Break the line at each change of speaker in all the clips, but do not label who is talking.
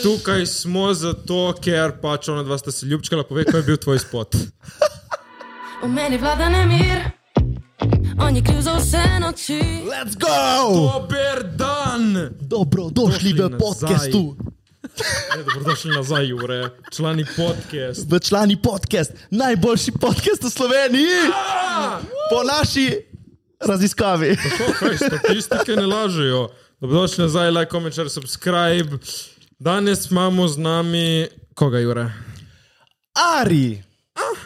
Tukaj smo zato, ker pač ona dva sta se ljubčkala, povej, kaj je bil tvoj spot.
V meni vlada nemir, on je kriv za vse noči.
Let's go!
Dober dan!
Dobrodošli
Došli
v podkastu,
Ne, dobrodošli nazaj, Jure, člani podcast.
v člani podcast, najboljši podcast v Sloveniji, Ah! po naši raziskavi.
To, kaj, statistike ne lažejo. Dobrodošli nazaj, like, comment, share, subscribe. Danes imamo z nami, koga, Jure?
Ari,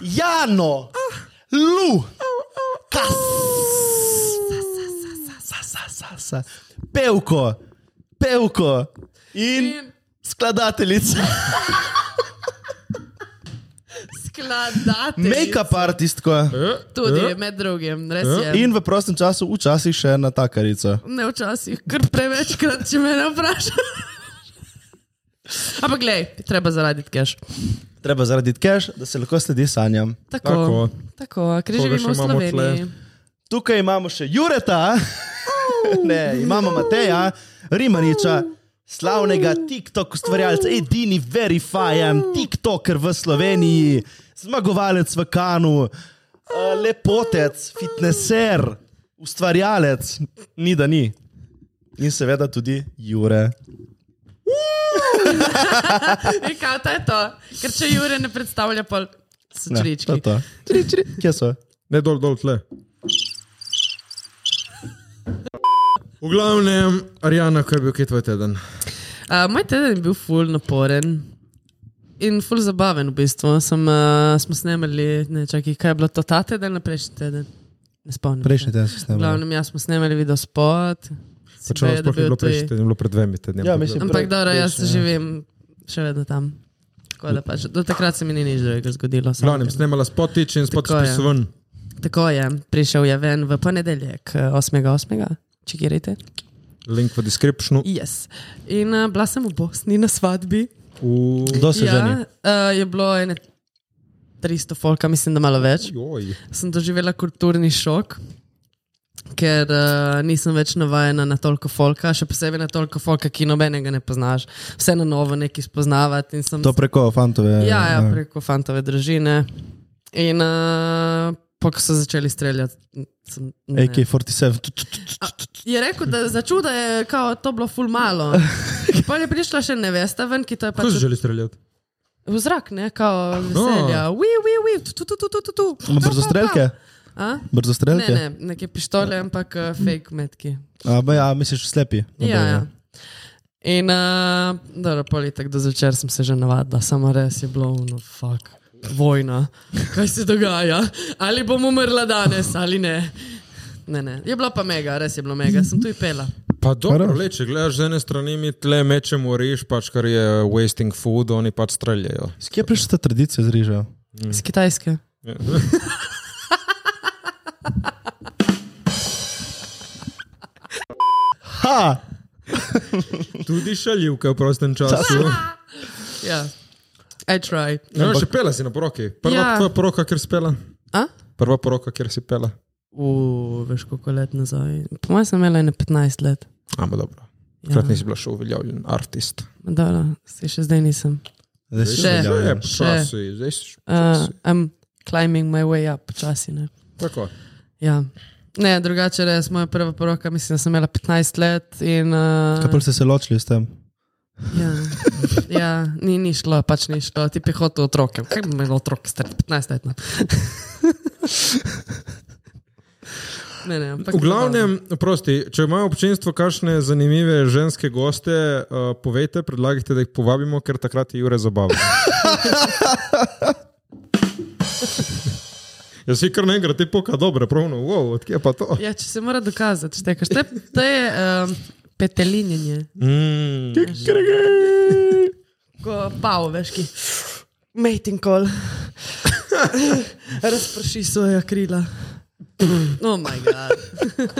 Jano, Lu, Kas, sa, sa, sa, sa, Pevko, Pevko in skladateljica.
Skladatelj.
Make-up artistko
Eh,
Tudi,
eh,
med drugim, res je.
in v prostem času včasih še ena takarica.
Ne včasih, kar prevečkrat, če me ne vprašaš. Ampak glej, treba zaraditi keš.
Treba zaraditi cache, da se lahko sledi sanjam.
Tako,
Tako.
tako. tako ker
Koga še
živimo v
imamo
Sloveniji.
Tukaj imamo še Jureta, ne, imamo Mateja, Rimaniča, slavnega TikTok ustvarjalca, edini verifajan TikToker v Sloveniji, zmagovalec v Kanu, eh, lepotec, fitneser, ustvarjalec, ni da ni. In seveda tudi Jure.
In Kaj to je to? Ker če Jure ne predstavlja, pol so
Ne, to je
črički.
to. Kje so?
Ne, dol, dol, tle. V glavnem, Arjana, kaj je bil kaj tvoj teden?
Uh, moj teden je bil ful naporen. In ful zabaven, v bistvu. Sem, uh, smo snemali, ne čakaj, kaj je bilo to ta teden, ali prejšnji teden. Ne spomnim. se.
Prejšnji teden so
V
snemali.
glavnem, jaz smo snemali video spot.
Če
Si
vam sploh
baje
ni
dobil
bilo
tudi-
prejšnji teden, je bilo pred dvemi tedni.
Ja,
ampak
mislim,
Ampak
Prej-
dobro, jaz
prejšnji, ja.
živim še vedno tam. Tako da Pač, do takrat se mi ni nič drugega zgodilo.
V glavnem,
Samo-
snemala spotič in spotič
Tako je.
pisal.
Tako je, prišel je ven v ponedeljek, eh, 8.8. Če gerite?
Link v descriptionu.
Yes. In uh, bila sem v Bosni na svadbi.
U...
Kdo se ženi?
uh, je bilo ene 300 folka, mislim, da malo več.
Joj.
Sem doživela kulturni šok. Ker uh, nisem več navajena na toliko folka, še posebej na toliko folka, ki nobenega ne poznaš. Vse na novo nekaj spoznavati. in sem
To preko fantove.
Ja, ja, preko fantove družine. In uh, pa ko so začeli streljati, sem. ne.
AK-47. Tu, tu, tu, tu.
Je rekel, da za čuda je kao, to bilo ful malo. Potem je prišla še nevesta ven, ki to je
Kdo se
pač
želi streljati?
v zrak, ne, kao veselja. Ui, ui, ui, tu, tu, tu, tu, tu, tu, tu.
Ma brzostrelke?
A? Ne,
Brzostrelke?
ne, neke pištole, ampak uh, fake metki.
A, ba ja, misliš slepi?
Ja, ja. In uh, dobro, pol je tako, da zvečer sem se že navadila, samo res je bilo, no, fuck, vojna. Kaj se dogaja? Ali bom umrla danes ali ne? Ne, ne. Je bilo pa mega, res je bilo mega, sem tu pela.
Pa dobro,
Prvo.
le, če gledaš z ene strani, mi tle mečemo riž, pač kar je wasting food, oni pač streljajo.
Z kje je prišla ta tradicija z rižem?
Z Kitajske.
Ha!
Tudi šaljivke v prostem času.
Ja, I try.
Ja, še pela si na poroki. Prva ja.
Ja.
tvoja poroka, kjer si pela.
A?
Prva poroka, kjer si pela.
U, veš koliko let nazaj. Po mojem sem imela ene 15 let.
Ampak dobro.
Ja.
Takrat nisi bila še uveljavljen artist.
Dobro, se še zdaj nisem.
Zdaj
Zdaj
si
si
Še.
uveljavljen.
že, počasi, zdaj si že
Uh,
počasi.
I'm climbing my way up, počasi ne.
Tako.
Ja. Ne, drugače res, moja prva poroka, mislim, da sem imela 15 let. In,
Kaj
uh,
pa ste se ločili s tem?
ja, ja, ni, ni šlo, pač ni šlo, ti pehoti otroke. Kaj bi imel otrok, star 15 let? No. ne, ne, ampak
V glavnem, prosti, če ima občinstvo kakšne zanimive ženske goste, uh, povejte, predlagajte, da jih povabimo, ker takrat je Jure zabaven. Jaz si kar naenkrat te poka dobre, pravno, wow, odkje pa to?
Ja, če se mora dokazati, štekaš. To je, to je um, petelinjenje,
Mm.
ko pao, veš, ki. Mating call. Razprši svoje krila. Oh, moj bog.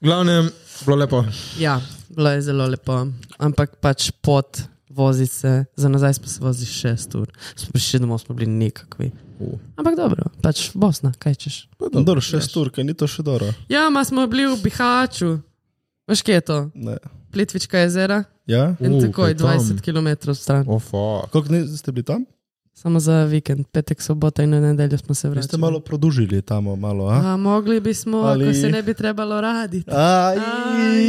V glavnem, bilo lepo.
Ja, bilo je zelo lepo, ampak pač pot, vozi se, za nazaj smo se vozili šest ur, smo prišli domov, smo bili nekakvi.
U.
Ampak dobro, pač Bosna, kaj češ.
Dobro, ja. še sturka, ni to še dobro.
Ja, ma smo bili v Bihaču, veš kje je to,
Ne.
Plitvička jezera,
Ja?
U,
In takoj
kaj tam?
20 km stran.
Oh, fuck.
Koliko dni ste bili tam?
Samo za vikend, petek, sobota in na nedeljo smo se
Vi ste
vračali.
malo produžili tam, malo. A?
A, mogli bi smo,
Ali-
Ali... ko se ne bi trebalo raditi.
Aj.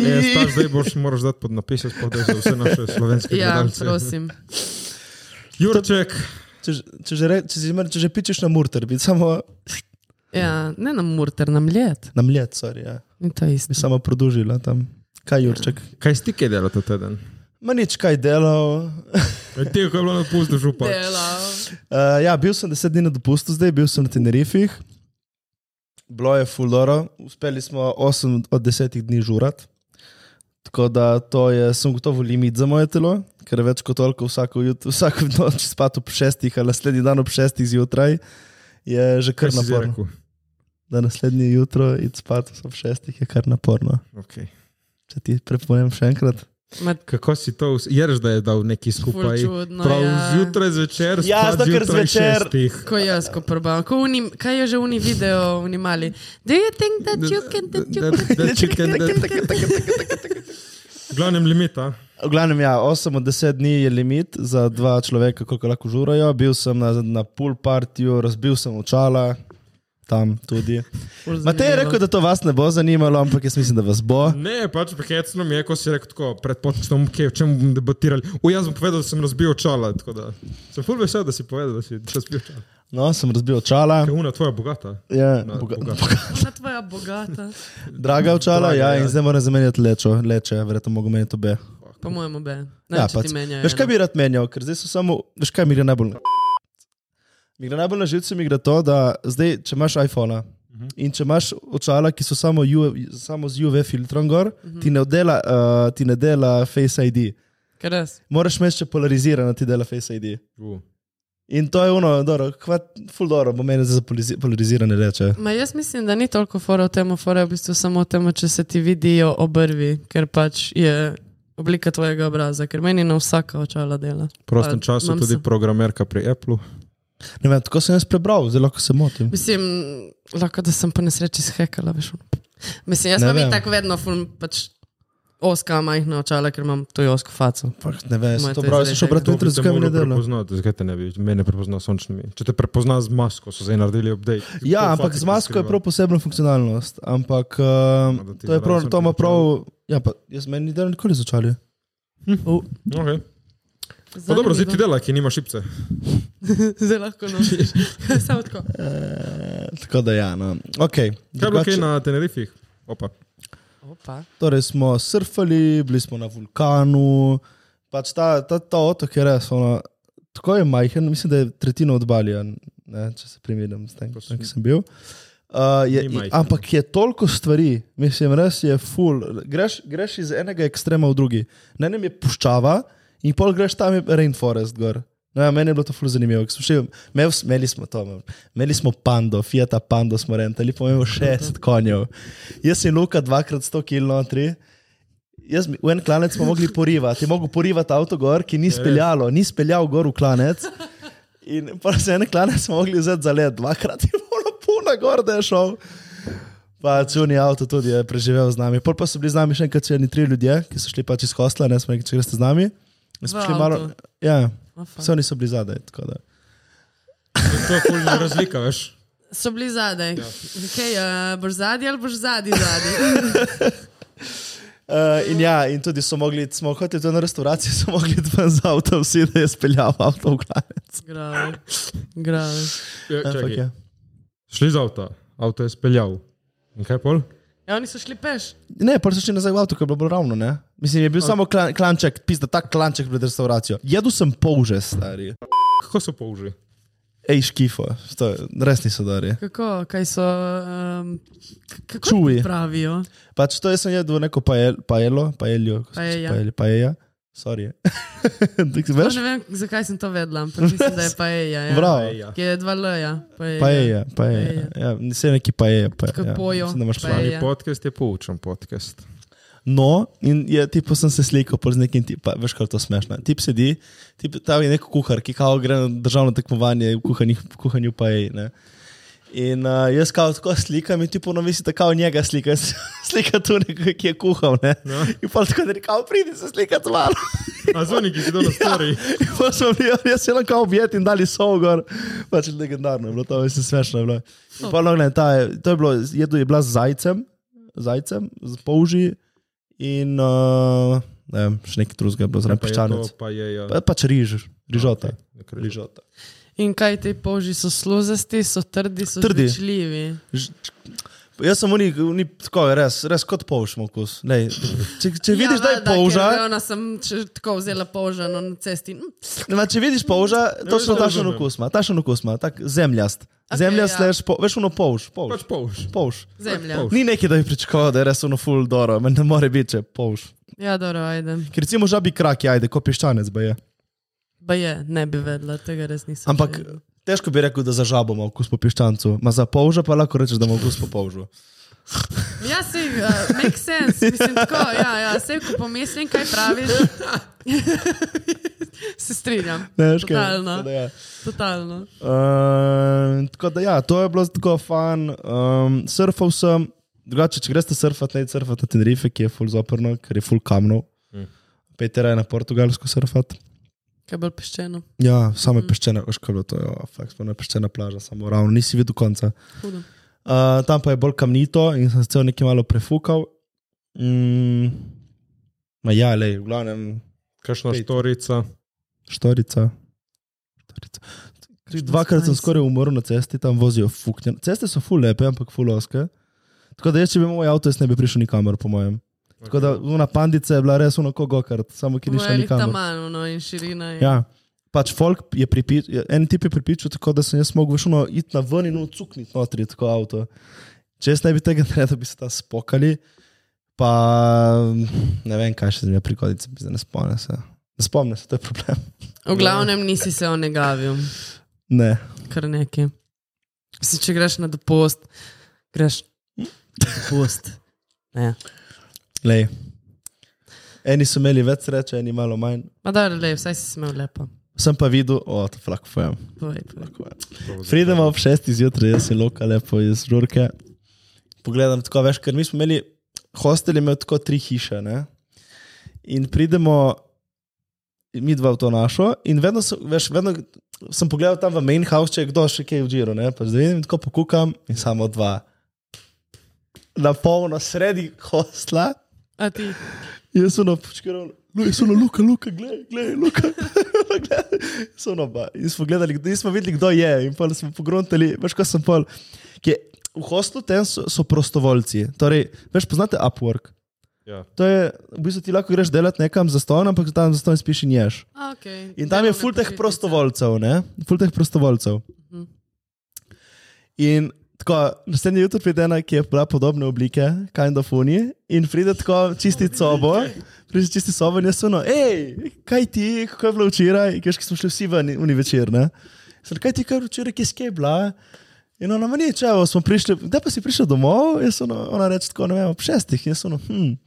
E, star, zdaj boš moraš dati pod napis, spodaj za vse naše slovenske
Ja,
gledalce.
prosim.
Jurček,
Če, že- če, že, re- če, si mar- če že pičeš na murter, bi samo
Ja, ne nam murter, nam led.
na mljet, sorry, ja.
In to je
bi
isto.
samo produžila tam. Kaj Jurček?
kaj si ti kaj delal ta teden?
Ma nič kaj delal.
E, Ti, ko je bilo na pustu
pač-
župa.
Delal.
Uh, ja, bil sem deset dni na dopustu, zdaj bil sem na Tenerifih. Bilo je fuloro, uspeli smo 8 od 10 dni žurat. Tako da to je, sem gotovo limit za moje telo, ker več kot toliko vsako, jut, vsako noč spati ob 6, ali naslednji dan ob 6 zjutraj, je že
Kaj
kar
si zdaj
naporno.
rekel?
Da naslednji jutro id spati ob 6 je kar naporno.
Okay.
Če ti prepovem še enkrat.
Ma,
Kako si to, vse- ješ, da je dal neki skupaj?
čudno,
Prav
ja.
zjutraj, zvečer,
Ja,
spad
zato, ker
zjutraj
zvečer-
šestih.
Ko jaz, ko probam, ko unim, kaj je že uni video, unimali. Do you think that you can, that you
Da- da- da- chicken, da- V Glavnem limita.
V glavnem, ja, 8 od 10 dni je limit za dva človeka, koliko lahko žurajo. Bil sem na, na pool partiju, razbil sem očala, tam tudi.
can?
Matej je rekel, da to vas ne bo zanimalo, ampak jaz mislim, da vas bo.
Ne, pač hecno mi je, ko si rekel tako, pred podkastom, kje, o čem bomo debatirali. O, jaz bom povedal, da sem razbil čala, tako da sem full vesel, da si povedal, da si razbil čala.
No, sem razbil očala.
Kaj una tvoja bogata?
Ja,
No,
boga,
bogata.
boga,
Ona tvoja bogata.
draga očala,
Draga,
ja,
ja.
in zdaj moram zamenjati lečo, leče, verjetno mogo menjati obe.
Po mojem obe. Ne,
Ja,
ja,
pač. Veš, kaj bi rad menjal, ker zdaj so samo, veš, kaj mi gre najbolj na živce. Mi gre najbolj na živce, mi gre to, da zdaj, če imaš iPhone
Mhm.
in če imaš očala, ki so samo, UV, samo z UV filtrom gor,
Mhm.
ti ne dela, uh, ti ne dela Face ID.
Ker res.
Moraš imeti še polarizirano, ti dela Face ID.
U.
In to je ono, dobro, kvat, full dobro, bo meni za polarizi- polarizirane reče.
Ma jaz mislim, da ni toliko fora v tem, fora je v bistvu samo v tem, če se ti vidijo obrvi, ker pač je oblika tvojega obraza, ker meni na vsaka očala dela.
V prostem
Pa,
času
imam
tudi
se-
programerka pri Apple.
Ne vem, tako sem jaz prebral, zelo lahko se motim.
Mislim, lahko da sem po nesreči shekala, veš. ono. Mislim, jaz
Ne
imam
vem.
in tako vedno ful, pač oska majhna očala, ker imam to josko faco.
Fakt, ne vem, sem
Moje
to
to je
bral, sem
zaradi
šel brati
tega.
jutri, zakaj mi ne dela.
Prepoznati, zakaj te ne bi, mene prepozna s sončnimi. Če te prepozna z masko, so zdaj naredili update.
Ja,
To
ampak
fucking
z masko je
skriva.
prav posebna funkcionalnost. Ampak um,
da ti
to, je prav,
zraven
to ima
sončni
prav. Ja, pa jaz meni ni delo nikoli začali.
Oh,
Okay. Pa dobro, zdaj ti dela, ki nima šipce.
Zdaj lahko nosiš. Samo tako.
Tako da ja. No. Okay,
Kaj je bilo kaj
drugače-
na Tenerifih? Opa.
Opa.
Torej smo surfali, bili smo na vulkanu. Pač ta, ta, ta otok je res. Ono, tako je majhen, mislim, da je tretjina od Balija, ne, če se primerjam s tem,
Prosim.
kjer sem bil. Uh, je,
Ni majhen.
ampak je toliko stvari, mislim, res je full. Greš, greš iz enega ekstrema v drugi. Na enem je puščava in pol greš tam je rainforest gor. No, ja, meni je bilo to ful zanimivo. ker smo šli- Imeli smo- imeli smo to, imel- imeli smo pando, Fiat pando smo rentali, pomeni 60 konjev. Jaz in Luka dvakrat 100 km na tri. Jaz, mi- v en klanec smo mogli porivati, mogo porivati avto gor, ki ni speljalo, ni speljal gor v klanec. In pa se en klanec smo mogli vzeti za led, dvakrat je bilo puno gor, da je šel. Pa čuni avto tudi je preživel z nami. Pol pa so bili z nami še enkrat črni tri ljudje, ki so šli pač iz hostla, ne smo rekli, če greste z nami. In smo
V
šli malo-
avtu. No,
Ja,
O, fak.
vse oni so bili zadaj. tako da.
To je polna razlika, veš.
So bili zadaj. Ja. Okay, uh, boš zadaj ali boš zadaj zadaj?
Uh, in ja, in tudi so mogli, iti- smo hoteli tudi na restauracijo, so mogli iti ven z avtom, vsi da je speljal avto v klanec.
Grave. Grave.
Ja,
Ampak
čakaj.
ja.
Šli z avta, avto je speljal. In kaj pol?
Ja, oni so šli peš.
Ne, pa so šli nazaj v avto, ker je bilo bolj ravno. Ne? Mislim, je bil samo klan, klanček, pizda, tak klanček pred restauracijo. Jedel sem polže, stari.
Kako so polži?
Ej, škifo, to je, res niso dari.
Kako? Kaj so? Um, k- kako
Čuji.
ti pravijo?
Pač to jaz sem jedel neko pael, paelo, paeljo,
Paella.
paelja. paelja. Sorry. Dik si
Paš?
veš?
Ne vem, zakaj sem to vedela, ampak mislim, da je paeja. Ja.
Bravo.
Eja.
Ki je dva L-ja.
Paelja, paelja.
Paella.
Ja, se neki paelja.
Tako pojo,
Mislim, da imaš prav.
paella.
Mali
Ja.
podcast je poučen podcast.
No, in je tipo sem se slikal pol z nekim, tip, pa, veš, kaj to smešno. Tip sedi, tip, tam je nek kuhar, ki kao gre na državno tekmovanje v kuhanjih- v kuhanju pa je. Ne. In uh, jaz kao tako slikam in ti ponoviš, da kao njega slika, slika tu nekaj, ki je kuhal. Ne?
Ja.
In pa tako da rekel, pridi se slikati z mano.
A zvoni, ki si dal na story.
in Ja. pa smo bili, jaz sem kao objet in dali so gor. Pač legendarno je bilo, to mislim smešno je bilo. In pa no, ne, ta je, to je bilo, jedu je bila z zajcem, zajcem, z polži in uh, ne vem, še nekaj drugega, je bilo zraven
Pa je to,
peščanec.
pa je, ja.
Pa, pač riž, rižota.
Nekaj
rižota.
In kaj ti polži so sluzasti, so trdi, so
Trdi.
trdičljivi.
Ž- Jaz sem unik, unik tako je, res, res kot polž, mokus. Če,
Ja,
če vidiš, Ja, da je polža,
Ona sem če, tako vzela polžano na cesti. Mm.
ne, če vidiš polža, točno
to
tašen
Ja, razumem.
okus ima, tašen okus ima, tak zemljast. Zemljast,
ja.
slash po- veš, ono polž, polž,
Pač polž.
polž.
Zemlja.
Polž.
Ni neki, da bi pričakoval, da je res ono full doro, meni ne more biti, če polž.
Ja, dobro, ajde.
Ker recimo žabi kraki, ajde, kot piščanec, baje.
Pa je, ne bi vedela, tega res nisem.
Ampak
vedela.
težko bi rekel, da za žabo ima okus po piščancu, ma za polža pa lahko rečeš, da ima okus po polžu.
Ja, se, uh, make sense, mislim tako, ja, ja, se, ko pomislim, kaj praviš. se strinjam.
Ne, veš kaj, tako
totalno,
da ja.
totalno.
Ehm, tako da, ja, to je bilo tako fun. Um, surfal sem, drugače, če greš surfati, ne surfati na Tenerife, ki je full zoprno, ker je full kamnov. Mm. Peter je na portugalsko surfati.
Kaj bolj peščeno,
Ja, samo je mm. peščena, veš, kaj je bilo to, jo, fakt, sploh ne peščena plaža, samo ravno, nisi videl konca.
hudo.
Uh, tam pa je bolj kamnito in sem se cel nekaj malo prefukal. Mm, ma ja, le, v glavnem,
Kakšna
Pet.
štorica.
Štorica. Štorica. Tudi Dvakrat sem
spice.
skoraj umrl na cesti, tam vozijo fuknje. Ceste so ful lepe, ampak ful oske. Tako da jaz, če bi imel moj avto, jaz ne bi prišel nikamor, po mojem. Tako da una pandica je bila res unako gokart, samo ki ni šla
Moje
nikamor.
tamano no, in širina. Je.
Ja. Pač folk je pripičal, en tip je pripičal tako, da sem jaz mogel šuno iti na ven in ucukniti notri, tako avto. Če jaz ne bi tega naredil, bi se tam spokali, pa ne vem, kaj še z njimi prikodice, bi se ne spomnil. se. Ne spomnim se, to je problem.
V glavnem nisi se onegavil,
Ne.
kar nekaj. Si, če greš na dopust, greš na dopust. Ne.
Lej. Eni so imeli več sreče, eni malo manj.
Ma da, le, vsaj si smel lepo.
Sem pa videl, o, to flak pojem.
Povej, povej.
Pridemo ob šestih zjutraj, jaz se loka lepo iz žurke. Pogledam tako, veš, ker mi smo imeli, hostel je imel tako tri hiše, ne? In pridemo, mi dva v to našo, in vedno, so, veš, vedno sem pogledal tam v main house, če je kdo še kaj v džiru, ne? Pa zdaj vidim, tako pokukam in samo dva. Na polno sredi hostla.
A ti,
Jaz sem napočkaral, jaz sem na Luka, Luka, gledaj, gledaj, Luka. Glej. so na oba. In smo gledali, kdo- in smo videli, kdo je. In pa smo pogruntali, veš, kaj sem pol. Kje, v hostlu ten so, so prostovoljci. Torej, veš, poznate Upwork.
Ja.
To je, v bistvu ti lahko greš delati nekam za ston, ampak tam za ston spiš in ješ.
a ok.
In tam je ful teh prostovoljcev, ne? Ful teh prostovoljcev. In tako, naslednji jutro pride ena, ki je bila podobne oblike, kind of uni, in pride tako čistit sobo, pride čistit sobo in jaz sem, hej, kaj ti, kako je bilo včeraj, In kaj ki smo šli vsi ven uni večer, ne? Sem, kaj ti, kaj je bilo včeraj, kje si kje bila? In ona meni, če smo prišli, da pa si prišel domov, jaz sem, ona reče tako, ne vem, ob šestih, jaz sem, hm,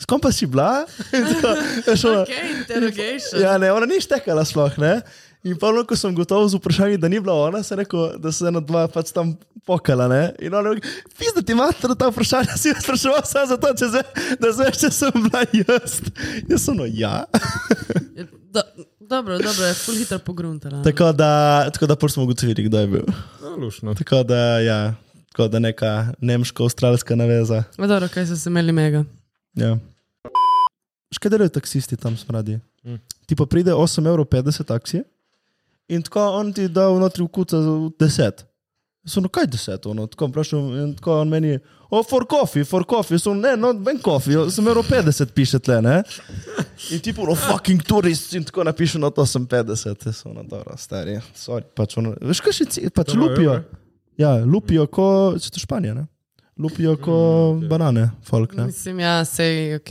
s kom pa si bila? In tako, veš, ona,
Ok, interrogation.
Ja, ne, ona ni štekala sploh. Ne? In pa, ko sem gotov z vprašanjem, da ni bila ona, sem rekel, da se ena dva pač tam pokala. Ne? In ona je rekla, pizda ti imaš ta vprašanja, si jih spraševal samo zato, če zve, da zveš, če sem bila jaz. Jaz sem no, ja.
Do, dobro, dobro, je ful hitro pogruntala. no.
Tako da, tako da pol smo ugotovili, kdo je bil.
No, lušno.
Tako da, ja, tako da neka nemško-avstralska naveza.
Ma dobro, kaj so se imeli mega.
Ja. Še kaj delajo taksisti tam smradi? Mm.
Hm.
Ti pa pride 8,50 evrov taksi in tako on ti da vnotri v kuca za 10. Sem, no kaj 10, ono, tako vprašam in tako on meni, o, for coffee, for coffee, sem, ne, no, ben coffee, sem evrov 50 piše tle, ne. In ti pa, no, fucking turist in tako napiše, no, to sem 50, jaz sem, no, dobro, stari, sorry, pač ono, veš kaj še, ci- pač
Dobro,
lupijo.
evo,
Ja, lupijo, ko, če to Španija, ne. Lupijo, ko
Mm, okej.
banane, folk, ne.
Mislim, ja, sej, ok,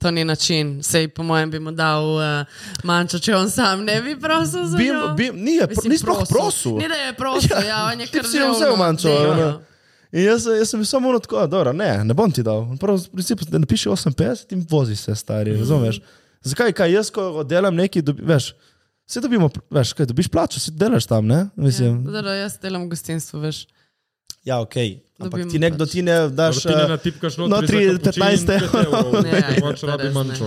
to ni način. Sej, po mojem, bi mu dal uh, manjšo, če on sam ne bi prosil za
Bim,
njo.
bim, ni, je,
no. Mislim,
ni sploh prosil.
Ni, da je prosil, ja,
Ja,
ja on je
ti
kar
si
že
jo vzel
ono
manjšo,
delo.
ono. In jaz, jaz sem bil samo ono tako, da ne, ne bom ti dal. Prav, v principu, da napiši 58 in vozi se, stari,
Mhm.
razumeš? Zakaj, kaj jaz, ko delam nekaj, dobi, veš, vse dobimo, pl- veš, kaj dobiš plačo, si delaš tam, ne?
Ja,
Mislim,
dobro, jaz delam v gostinstvu, veš.
Ja, ok. Ampak
Dobim
ti nekdo
pač-
ti ne daš.
Ti ne
eh,
natipkaš
notri
notri, za kapučin
15
pet evrov,
Ne, ja,
ker pač
res
rabi
ne.
manjšo.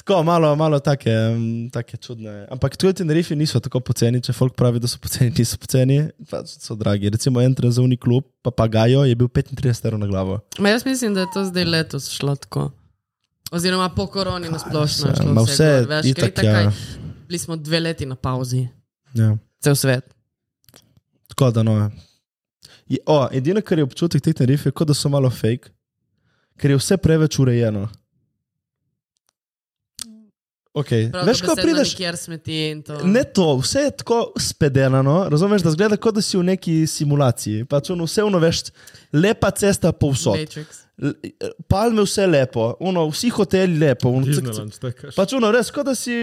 Tako, malo, malo take, mm, take čudne. Ampak tudi Tenerife niso tako poceni, če folk pravi, da so poceni, niso poceni, pač so dragi. Recimo en trezovni klub, papagajo, je bil 35 evrov na glavo.
Ma jaz mislim, da je to zdaj letos šlo tako. Oziroma po koroni nasplošno. je
se,
šlo
ma
vse
vse
gor, veš, ker
itak,
itak
ja.
kaj, Bili smo dve leti na pauzi,
Ja.
cel svet.
Tako da no. Je, o, edino, kar je občutek teh Tenerife, je, kot da so malo fake, ker je vse preveč urejeno. Okay.
Prav, no.
Veš, ko prideš,
kjer smeti in to.
Ne to, vse je tako spedenano, razumeš, da zgleda kot da si v neki simulaciji. Pač ono, vse ono veš, lepa cesta povsod,
Matrix.
L- palme vse lepo, ono, vsi hoteli lepo. Ono, cik, cik.
Disneyland, tekaš.
Pač ono, res, kot da si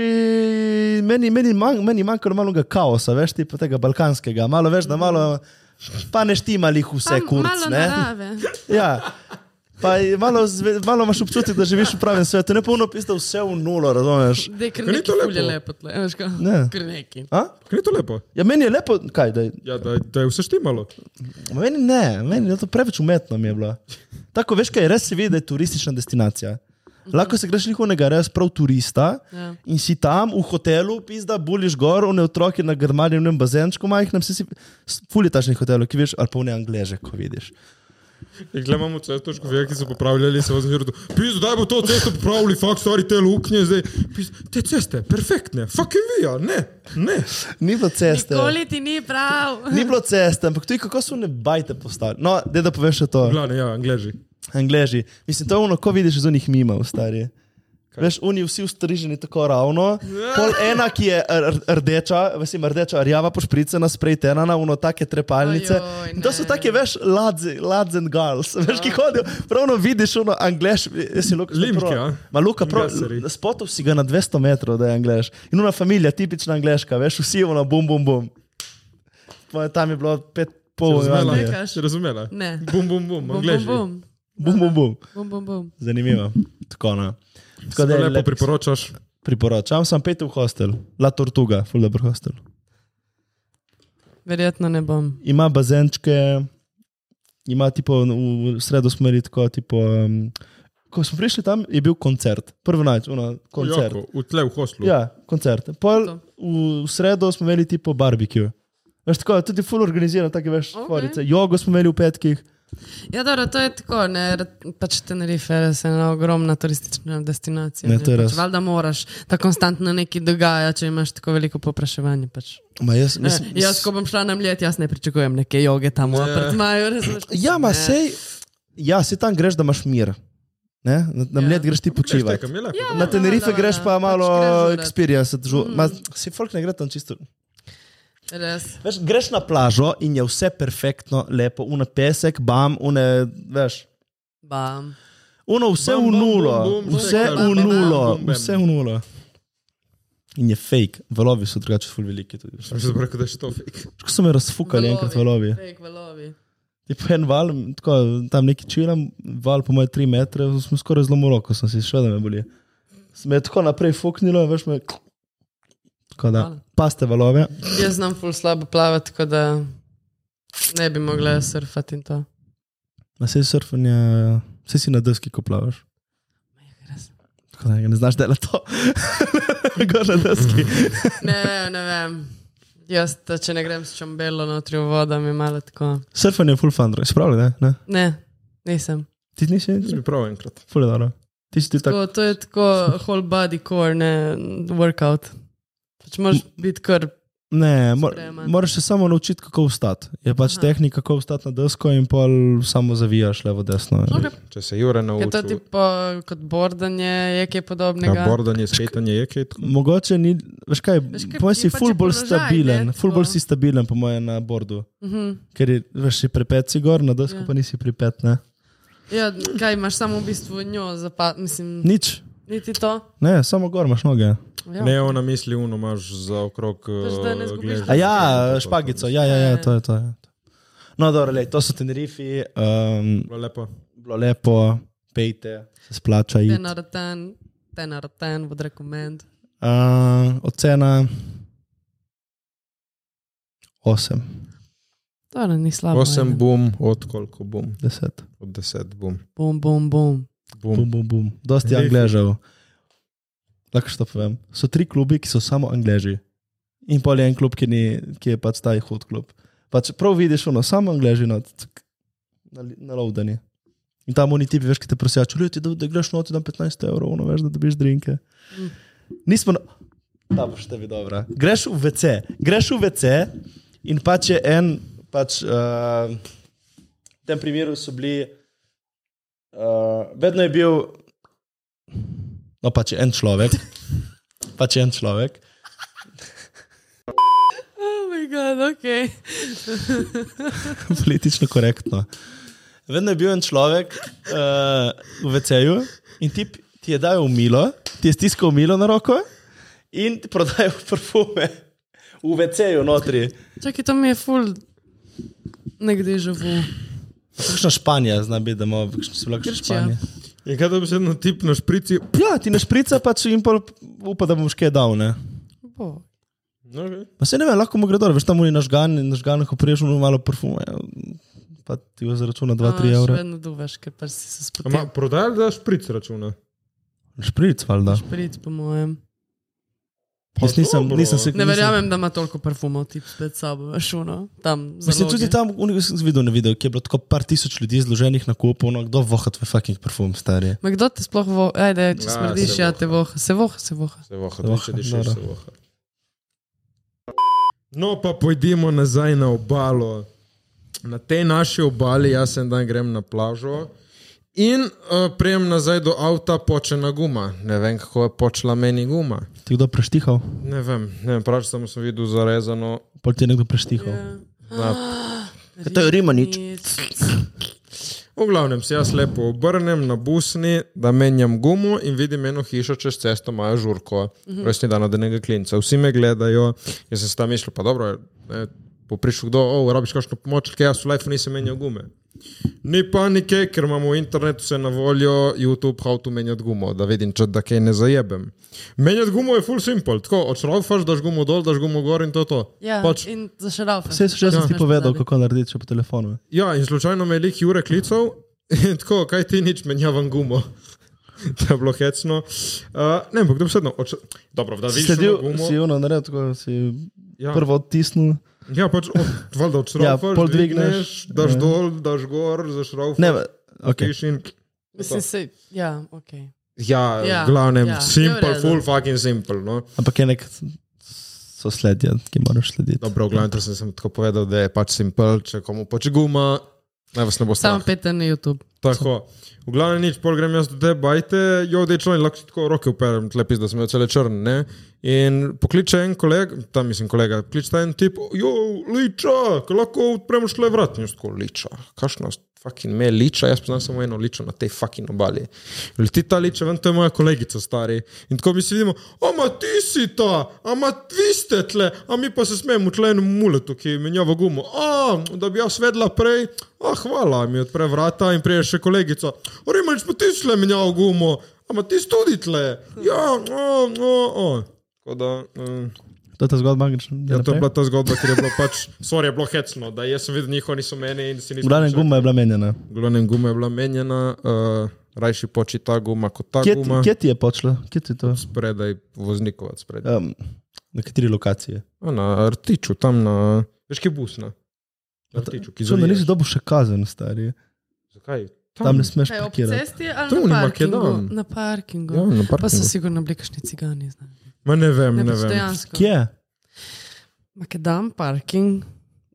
meni, meni, manj, meni manjka malega kaosa, veš, ti pa tega balkanskega, malo več, da malo, pa ne štima lih vse
Pa
kurc.
Malo
ne?
narave.
Ja. Pa je malo, zve- malo imaš občutek, da živiš v pravem svetu, ne pa ono pista vse v nulo, razumeš.
Dej,
Ker
ker
ni
neki
to lepo.
fulje lepo tle, veš kaj?
Ne.
Ker neki.
A?
Kaj je to lepo?
Ja, meni je lepo, kaj, da je
Ja, da, da je vse štimalo.
Ma Meni ne, meni je to preveč umetno mi je bilo. Tako veš, kaj res se vidi, da je turistična destinacija. Lahko se greš nekoga res prav turista
Ja.
in si tam v hotelu, pizda, buliš gor, one otroke na grmarjenem bazenčku majhnem, si si fulitačnih hotelov, ki veš, ali pa v ne angleže, ko vidiš.
In glej, imamo cesto, škofije, ki so popravljali, se vozim zjutraj. Pizdo, da bo to cesto popravili, fakt, stvari te luknje, zdaj. Pizdo, te ceste, perfektne, fucking vija, ne, ne.
Ni bilo ceste.
Nikoli ti ni prav.
Ni bilo ceste, ampak tudi kako so ne bajte postavili. No, da da poveš še to.
Glavne, ja, angleži.
Angleži. Mislim, to je ono, ko vidiš iz unih mimov, stari. Kaj? Veš, oni vsi ustriženi tako ravno. Pol ena, ki je r- r- rdeča, mislim, rdeča, rjava pošpricena, sprejtena na uno take trepalnice.
Ojoj,
In to so
ne.
take, veš, ladze, ladze and girls. Veš, ki hodijo, pravno vidiš ono angleš, jaz si Luka. sem
Limke,
prav-
a?
Ma Luka, prav,
Anglesari.
spotov si ga na 200 metrov, da je angleš. In ona familija, tipična angleška, veš, vsi ono bum, bum, bum. Pa Tam je bilo pet, pol,
Razumela?
Irlandije.
Anglije.
Si razumela?
Ne.
Bum, bum, bum,
Bum,
angleži.
bum, bum.
bum, bum, bum.
Bum, bum, bum.
Zanimivo. Tako, no. Tako
Tako
da
da
je
lepo
lep-
priporočaš.
priporočam, sem pet v hostel, La Tortuga, full dobro hostel.
Verjetno ne bom.
Ima bazenčke, ima tipo v v sredo smeri tako, tipo, um, ko smo prišli tam, je bil koncert, prvi noč, ono, koncert.
Jako, V tle v Hoslu.
Ja, koncert. Pol
To.
v sredo smo imeli tipo barbecue. Veš tako, tudi full organiziran, take veš,
Okej.
tvorice. Jogo smo imeli v petkih.
Ja, dobro, to je tako, ne, r- pač Tenerife je res ena ogromna turistična destinacija.
Ne, to je
pač,
res.
Valjda moraš, ta konstantno nekaj dogaja, če imaš tako veliko popraševanja. Pač.
Ma jaz,
Mislim,
mislim,
jaz, ko bom šla na mljet, jaz ne pričakujem neke joge tam v
Ne.
apartmaju. razumeš?
ja, ma
Ne.
sej, ja, sej tam greš, da imaš mir. Ne? Na, na
Ja.
mled greš ti počivati.
Čekam, je lepo.
Ja.
Ja.
Na Tenerife
Malo,
greš
ja.
pa
Pač
malo
greš žurat.
experience. Mm. Ma, si folk ne gre tam čisto.
Res.
Veš, greš na plažo in je vse perfektno, lepo, une pesek, bam, une, veš.
Bam.
Uno vse
Bam,
v
bam,
nulo,
bum, bum,
vse
bam,
v
bam, bam,
nulo,
bam, bam.
vse v nulo. In je fake, valovi so drugače ful veliki. tudi.
Sem se zbral, da je to fake.
Ko so me razfukali enkrat valovi.
Fake valovi.
Je pa en val, tako, tam neki čilam, val po moje 3 metre, smo skoraj zlomili roko, sem si še da me boli. Se Me je tako naprej fuknilo, veš me. Tako da,
Hvala.
paste valove.
Jaz znam ful slabo plavati, tako da ne bi mogla surfati in to.
Na vse surfanje, vse si na deski, ko plavaš. Tako da ne znaš delati to, gor na deski.
Ne, ne vem. Jaz, ta, če ne grem s čombelo notri v vodo, mi je malo tako.
Surfanje je full fun, si pravi, ne? ne?
Ne, nisem.
Ti nisi,
Jaz bi prav enkrat.
full je dobro. Ti si ti tako.
Tako, to je tako whole body core, ne workout. Pač moraš biti kar.
Ne, mor,
sprejeman.
moraš se samo naučiti, kako vstati. Je pač Aha.
Aha.
tehnika, kako vstati na desko in pol samo zavijaš levo, desno.
Okay.
Če se Jure
Je to
nauči.
tipo kot bordanje, je kaj podobnega.
Ja, bordanje, skejtanje, je kaj.
Mogoče ni, veš kaj,
Veš kaj,
moj
je
si
pač
ful
je
bolj
položaj, ne,
stabilen, ful bolj
tako.
si stabilen po mojem na bordu.
Mhm.
Ker je, veš, si pripet si gor, na desko
Ja.
pa nisi pripet, ne?
ja, kaj imaš samo v bistvu njo, zapad, mislim, ni,
Nič,
niti to.
ne, samo gor imaš noge.
Ja.
Ne, ona misli, uno imaš za okrog. eh,
Pač, da ne zgubiš
A
glave.
ja, špagico, ja, ja, ja, to je to. Je. No, dobro, lej, to so Tenerifi, um,
Lepo.
bilo lepo, pejte, se splača. iti.
Ten out of ten, ten out of ten, would recommend.
Uh, ocena 8.
Dobro, ni slabo. ajde.
Osem bom, od koliko bom?
Deset.
Od deset bom.
Bum, bum, bum.
bom.
Bum, bum, bum. Dosti
Lefi.
angležev. Lahko što povem. So tri klubi, ki so samo angleži. In pol je en klub, ki, ni, ki je pač ta hud klub. Pač prav vidiš, ono, samo angleži not, na lovdani. In tam oni tipi, veš, ki te prosijo, čulijo ti, da, da greš noti na 15 evrov, ono, veš, da dobiš drinke. Nismo na... Ta boš tebi dobra. Greš v WC, greš v WC in pač je en, pač uh, v tem primeru so bili Uh, vedno je bil, no pač en človek, pač en človek,
Oh, moj bog, ok.
politično korektno. Vedno je bil en človek uh, v VC-ju in ti, ti je dal umilo, ti je stiskal umilo na roko in ti prodajal perfume v VC-ju notri.
Čakaj, to mi je ful. Nekde že v.
Kakšna Španija zna biti, da ima kakšno se lahko
Grčija.
Španija.
In kaj da bi se na tip na šprici?
Ja, ti ne šprica, pač jim pa upa, da boš kaj dal, ne?
Bo.
Okay.
Pa se ne vem, lahko mu gre dobro, veš tam oni nažgan in nažgan, ko priješ v malo parfuma, ja, pa ti jo zaračuna 2-3
No, Še
evra.
vedno duvaš, ker pa si se
Ama,
spotil.
prodajali da špric računa?
Špric, valjda.
Prid, po mojem.
Jaz
Pa
nisem,
dobro.
nisem se
Ne
nisem-
verjamem, da ima toliko parfumov tip pred sabo, veš, uno, tam.
Mislim,
zaloge.
tudi tam v- sem videl, ne videl, kje je bilo tako par tisoč ljudi zloženih na kupu, no kdo vohat v fucking parfum, stari.
Ma kdo te sploh voha? Ajde,
Ja,
če smrdiš,
se
ja
voha.
te voha. Se voha, se voha.
Se voha,
Se voha,
če dišiš,
dobro.
se voha. No, pa pojdimo nazaj na obalo. Na tej naši obali, jaz en dan grem na plažo in uh, prejem nazaj do avta počena guma. Ne vem, kako je počela meni guma.
Ti kdo preštihal?
Ne vem, ne vem, prav samo sem videl zarezano.
Pol ti je nekdo preštihal.
Ja.
Na...
Ah,
to je Rimanič.
V glavnem se jaz lepo obrnem na busni, da menjam gumo in vidim eno hišo čez cesto, imajo žurko, mhm. rojstni dan od enega klinca. Vsi me gledajo, jaz sem si tam mislil, pa dobro, ne, bo prišel kdo, o, rabiš kakšno pomoč, ker jaz v life nisem menjal gume. Ni panike, ker imamo v internetu vse na voljo, YouTube, how to menjati gumo, da vidim, če da kaj ne zajebem. Menjati gumo je full simple, tako odšraufaš, daš gumo dol, daš gumo gor in to je to.
Ja,
pač,
in zašarav.
Vse so še jaz ti
Ja.
povedal, kako narediti, če po telefonu.
Ja, in slučajno me je lik Jure klical in tako, kaj ti nič menjavam gumo. to je bilo hecno. Uh, ne, ampak kdo sedno. Oč... Dobro, da
Si
vidiš
sledil,
ono gumo.
si ono naredil, tako si
Ja,
prvo odtisnil.
ja pač od, valjda odšraufaš,
Ja,
ja,
pol
pol
dvigneš,
dvigneš, daš
ja.
ja. dol, daš gor, zašraufaš.
Ne, okay.
piš in...
Mislim, se, ja, ok.
Ja,
Ja,
ja, v glavnem,
ja,
ja,
to je v
simple,
redu.
full fucking simple. No.
ampak je nek so sledje, ki moraš slediti.
Dobro, v glavnem, to sem, sem tako povedal, da je pač simple, če komu pač guma, naj vas ne bo strah.
Samo Peter na YouTube.
Tako. V glavnem nič, pol grem jaz do te bajte, jo dečo in lahko si tako roke uperem, tlepi, da sem jo cele črn. Ne? In pokliče en kolega, tam mislim kolega, kliče ta en tip, jo, liča, ko lahko odpremo šle vrat. In jaz tako, liča, kašno, fucking me liča, jaz poznam samo eno ličo na tej fucking obali. Leti ta liča, ven to je moja kolegica stari. In tako mi si vidimo, ama ti si ta, ama vi ste tle, a mi pa se smemo tle enemu muletu, ki menjava gumo. A, da bi jaz vedla prej, a hvala, mi odpre vrata in prije še kolegica. Orimač pa ti si le menjal gumo, ama ti si tudi tle. Ja, o, o, o. Tako da, um,
To je ta zgodba, anglična.
ja, to je bila ta zgodba, ker je bilo pač, sorry, je bilo hecno, da jaz sem videl njihovo, niso meni in si nisem.
Glavna guma je bila menjena.
V glavnem guma je bila menjena, uh, rajši poči ta guma kot ta
Kje,
guma.
kje ti je počlo? Kje ti je to?
Spredaj, voznikovat spredaj.
Um, na kateri lokaciji?
A No, Na rtiču, tam na. Veš, kje busna? Na rtiču, ki
Čudno, nisi
zaviješ.
dobil še kazen, stari.
Zakaj?
Tam ne smeš
Kaj, ob
parkirati.
cesti ali
To
na
ni
parkingu?
Makedon.
Na parkingu.
Ja, na
Pa so
parkingu.
sigurno bili kakšni cigani. Ne,
Ma ne vem, ne,
ne,
ne
pač
vem.
dejansko.
Kje?
Makedam parking.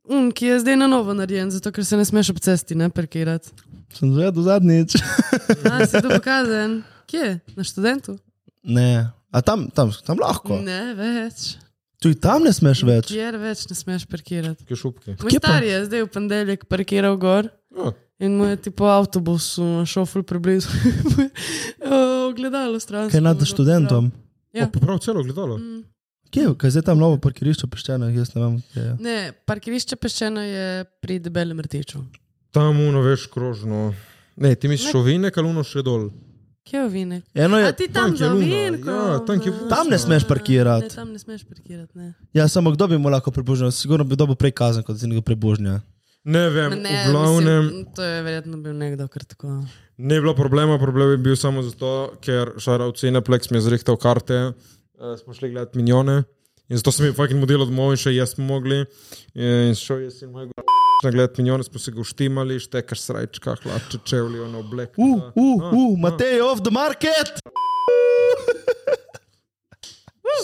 Un, ki je zdaj na novo narejen, zato ker se ne smeš ob cesti ne parkirati.
Sem zvedel zadnjič.
Ja, si to pokazen. Kje? Na študentu?
Ne. A tam, tam, tam lahko. Ne.
Ne Ja, več.
Tudi tam ne smeš več.
Kjer več ne smeš parkirati.
Kje šupke?
Moj
Kje pa?
star je zdaj v ponedeljek parkiral gor
Ja.
in mu je tipo avtobus šel ful preblizu. Mu je, eh, Ogledalo stran.
Kaj nad študentom?
Ja.
Ja. Poprav celo gledalo.
Mm,
Kje? Kaj je zdaj tam novo parkirišče peščeno? Jaz ne vem. Kje. je.
Ne, parkirišče peščeno je pri debelem rtiču.
Tam uno veš krožno. Ne, ti misliš ovinek ali uno še dol.
Kje je ovinek?
Eno E,
A
je,
ti tam
tank je
za
luna,
ovinko?
ja, tank je
Aha.
luna.
tam ne smeš
Ne,
parkirati.
tam ne smeš parkirati, ne.
Ja, samo kdo bi mu lahko prebožnil? Sigurno bi dobil prej kazen kot z nekega prebožnja.
Ne vem,
Ne,
v glavnem.
mislim, to je verjetno bil nekdo, ker tako.
Ni bilo problema, problem je bil samo zato, ker šarovc Cineplex mi je zrihtal karte, uh, smo šli gledati minjone in zato sem jim fucking model odmov in še jaz smo mogli. Eh, In šel jaz in moj gor. Na gled minjone smo se ga uštimali, štekaš srajčka, hlače, čevlji, ono oblek.
Uh, uh, uh, Matej, off the market!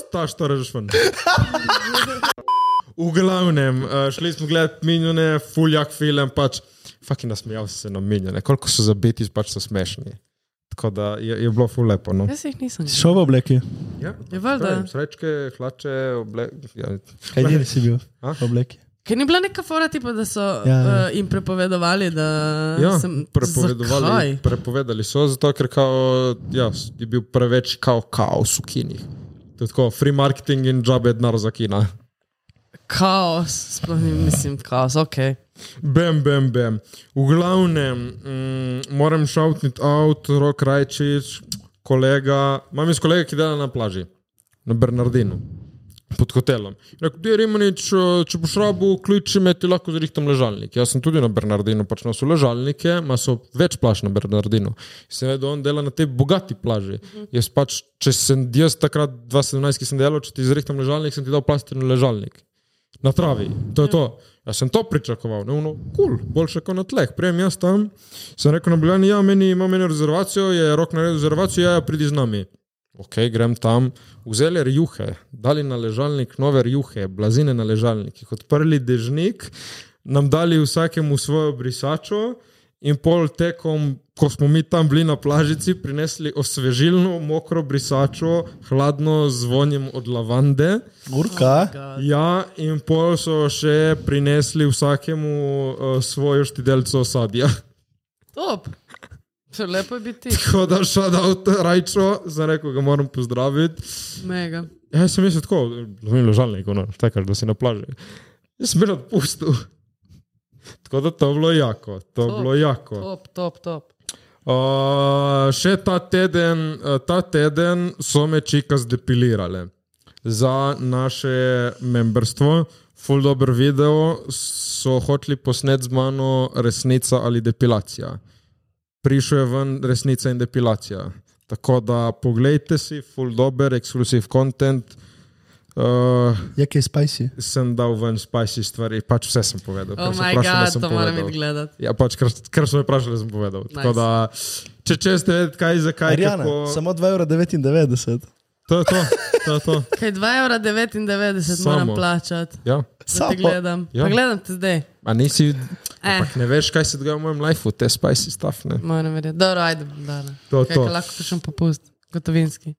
Staš to režeš ven. V glavnem, eh, šli smo gledati minjone, fuljak film, pač fucking nasmejal sem se na minjone, koliko so zabiti, pač so smešni. Tako da je, je bilo fulepo. No.
Jaz jih nisem. videl.
Šel v obleki.
Ja,
Je valjda.
pravim, Srečke, hlače, oblek. Ja.
Kaj deli si bil?
A?
V obleki.
Ker ni bila neka fora, tipa, da so ja,
Ja, ja.
ja. Uh, jim prepovedovali, da
Ja,
sem
prepovedovali,
Zakaj?
prepovedali so, zato ker kao, ja, je bil preveč kao kaos v kinih. To je Tako, free marketing in džabe denar za kina.
Kaos, sploh ni, mislim, kaos, ok.
Bem, bem, bem. V glavnem, mm, moram šautniti out, rok Rajčič, kolega, imam iz kolega, ki dela na plaži, na Bernardinu, pod hotelom. Rekel, ti Rimanič, eh, če boš rabu, kliči me, ti lahko zrihtam ležalnik. Jaz sem tudi na Bernardinu, pač nosil ležalnike, ima so več plaž na Bernardinu. Sem vedel, on dela na tej bogati plaži. Jaz pač, če sem jaz takrat 2017, ki sem delal, če ti zrihtam ležalnik, sem ti dal plastičen ležalnik na travi. To je to. Jaz sem to pričakoval, ne uno, kul, cool, boljše kot na tleh. Prijem jaz tam, sem rekel na Biljani, ja, meni ima meni rezervacijo, je rok naredil rezervacijo, ja, ja, pridi z nami. Ok, grem tam, vzeli rjuhe, dali na ležalnik nove rjuhe, blazine na ležalnikih, odprli dežnik, nam dali vsakemu svojo brisačo in pol tekom, ko smo mi tam bili na plažici, prinesli osvežilno, mokro brisačo, hladno z vonjem od lavande.
Urka.
Ja, in pol so še prinesli vsakemu uh, svojo štidelco sadja.
Top. Še lepo je biti,
Tako da šel od Rajčo, za neko ga moram pozdraviti.
mega.
Ja, jaz sem mislil tako, da je ležalnik, ono, tekaš, da si na plaži. Jaz sem bil odpustil. Tako da to je bilo jako, to je
Top,
bilo jako.
Top, top, top.
Uh, še ta teden, uh, ta teden so me čika zdepilirale za naše memberstvo. Ful dobro video so hoteli posnet z mano resnica ali depilacija. Prišel je ven resnica in depilacija. Tako da poglejte si, ful dober, ekskluziv content. Uh,
Ja, kaj spicy.
sem dal ven spicy stvari, pač vse sem povedal. ker
Oh
so
moj
vprašali, da
bog,
sem
to moram
povedal.
iti gledati.
Ja, pač, kar, kar so me vprašali, sem povedal. Nice.
Nice.
Da, če česte vedeti, kaj je zakaj,
Arjana,
kako...
samo 2,99 evra.
to je to. to, je to.
Kaj 2,99 evra moram
Samo.
plačati,
Ja.
da
Samo.
te gledam.
Ja.
Ja. Pa gledam te zdaj.
A nisi,
Eh,
ampak ne veš, kaj se dogaja v mojem lifeu, te spicy stuff. Ne?
moram verjeti. Dobro, ajde, dobro.
To,
Kaj,
to.
kaj lahko še popust, gotovinski.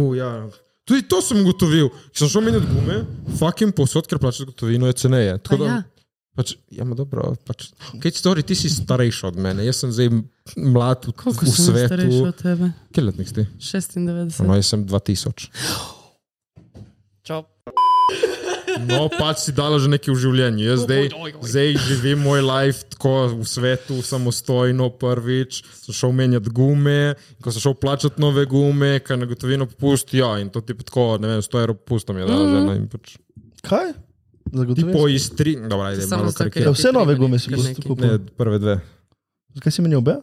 U, ja. Tudi to sem ugotovil, ki sem šel meniti gume, fucking posod, ker plačaš gotovino, je ceneje. Tako
A
da-
ja.
Pač, ja, ma dobro, pač, kaj stori, ti si starejši od mene, jaz sem zdaj mlad v,
Koliko
v
sem jaz starejši
svetu.
od tebe?
Kaj letnik si ti?
96.
No, jaz sem 2000.
Čau.
No, pač si dala že nekaj v življenju. Jaz zdaj, zdaj živim moj life tako v svetu, samostojno prvič. Sem šel menjati gume, ko sem šel plačati nove gume, kaj na gotovino popusti. Ja, in to ti tako, ne vem, 100 evrov popustam je dala žena. in Pač,
Kaj?
po
Zagotovo.
istri, dobra, ajde,
Samo
malo
zato,
karikiram.
ker-
Vse nove gume si
Kar
boš
neki.
Ne,
kupil.
prve dve,
Zakaj si meni obe?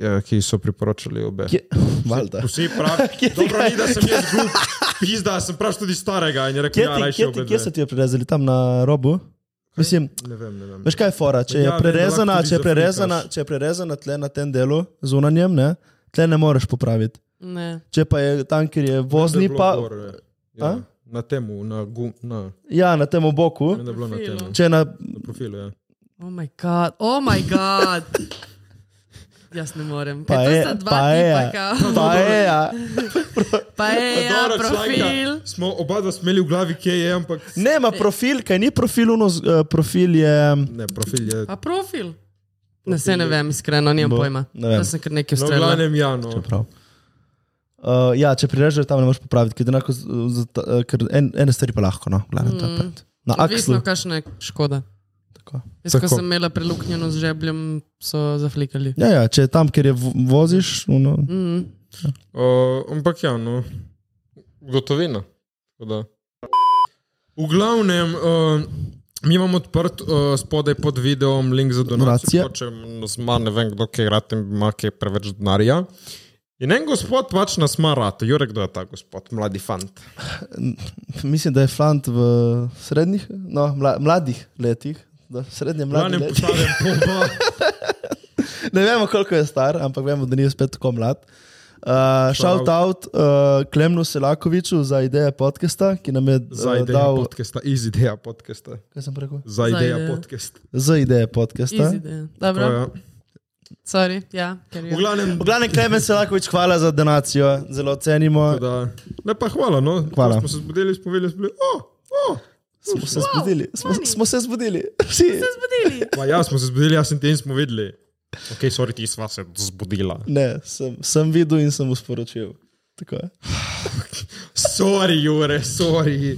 ja, ki so priporočali obe.
Kje- Valjda.
Vsi pravijo, dobro, ni, da sem jaz glup, pizda, sem prav tudi starega in je rekel,
Kje,
ja,
ti,
rajši
kje, ti,
obe.
kje so
dve.
ti jo prerezali tam na robu? Mislim,
Ne vem, ne vem.
veš kaj je fora, če je
Ja,
prerezana,
lahko tudi
če je prerezana,
zafrikaš.
če je prerezana tle na tem delu, zunanjem, ne, tle ne moreš popraviti.
Ne.
Če pa je tam, kjer je
Da je
vozni,
bilo
pa
gor, ja. Ja,
A?
Na temu, na gum, na,
ja, na tem oboku,
ne da je bilo na
Profilu.
temu.
če je na
profilu. Ja.
Oh moj bog, oh moj bog. Jaz ne morem.
pa
Kaj, to
je,
sta dva
pa je,
tipa, kao?
pa je, ja.
pa je, ja,
Dobro,
profil.
članka Smo oba dva smeli v glavi, kje je, ampak
ne ima profil, kaj ni profil, uno, z- eh, profil je.
ne, profil je. No,
Pa profil. Ne, se ne vem, iskreno, nimam
Bo,
pojma.
ne vem.
Da sem kar
No,
nekaj
v
ustrelil.
glavnem Jano.
Prav. Uh, ja, če prirežeš, tam ne moreš popraviti, ker, je enako, z- z- ta- eh, ker en, ene stvari pa lahko, no, glavno, to je pač. Na
Odvisno,
akslu.
kakšna je škoda.
Tako.
Jaz, ko
Tako.
sem imela preluknjeno z žebljem, so zaflikali.
Ja, ja, če je tam, kjer je vo- voziš, uno,
Mm.
Uh, ampak Jano, gotovina. Tako da. V glavnem, uh, Mi imamo odprt uh, spodaj pod videom link za donacijo.
Donacije.
Če nas ima, ne vem, kdo kaj rate, ima kaj preveč denarja. In en gospod pač nas ima rate, Jurek, kdo je ta gospod, mladi fant.
Mislim, da je Flant v srednjih, no, mla, mladih letih. Da, srednje
Glavnem
mladi leti.
postavljam pomba.
Ne vemo, koliko je star, ampak vemo, da ni spet tako mlad. Uh, shout out uh, Klemnu Selakoviču za ideje podcasta, ki nam je
Za
eh,
idejo
dal.
podcasta, iz ideja podcasta.
Kaj sem rekel?
Za idejo
idejo.
podcasta.
Za ideje podcasta.
Izide.
To je.
Dobro, sorry, ja, ker
ja. V
je.
glavnem,
V glavnem, Klemen Selakovič, hvala za donacijo, zelo cenimo.
tako da, ne pa hvala, no.
Hvala.
Ko Smo se zbudili, smo bili, smo bili, o, o.
Smo se zbudili, smo, smo se zbudili. Vsi.
Zbudili.
Pa ja, smo se zbudili, jaz in ti in smo videli. Ok, sorry, ti sva se zbudila.
Ne, sem, sem videl in sem mu sporočil. Tako je.
Sorry, Jure, sorry.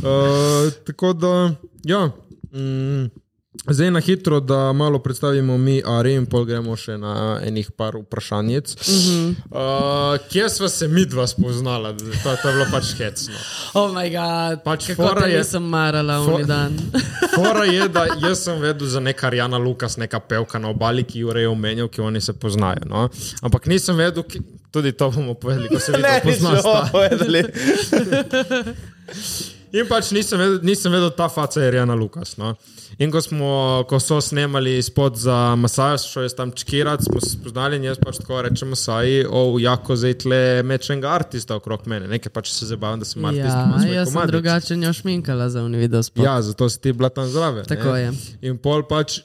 Uh, tako da, ja. Mm, zdaj na hitro, da malo predstavimo mi Ari in pol gremo še na enih par vprašanjic. Mm -hmm. uh, kje sva se midva spoznala? To, to je bilo pač hecno.
Oh, moj bog,
Pač
kako
fora
te
je-
nisem marala
fo-
v dan.
Fora je, da jaz sem vedel za neka Arjana Lukas, neka pevka na obali, ki jo je omenil, ki oni se poznajo. No? Ampak nisem vedel, ki... tudi to bomo povedali, ko se vidimo.
bomo povedali.
In pač nisem vedel, nisem vedel ta faca je Rejana Lukas. No? In ko, smo, ko so snemali spod za Masaja, šel je tam čkirat, smo se spoznali in jaz pač tako rečem Masaji, o, jako zdaj tle mečenega artista okrog mene, nekaj pač se zabavam, da sem artist.
Ja,
imam svoj
jaz sem
komadič.
drugače njo šminkala za unijo video spot.
Ja, zato si ti bila tam zraven.
Tako
ne?
je.
In pol pač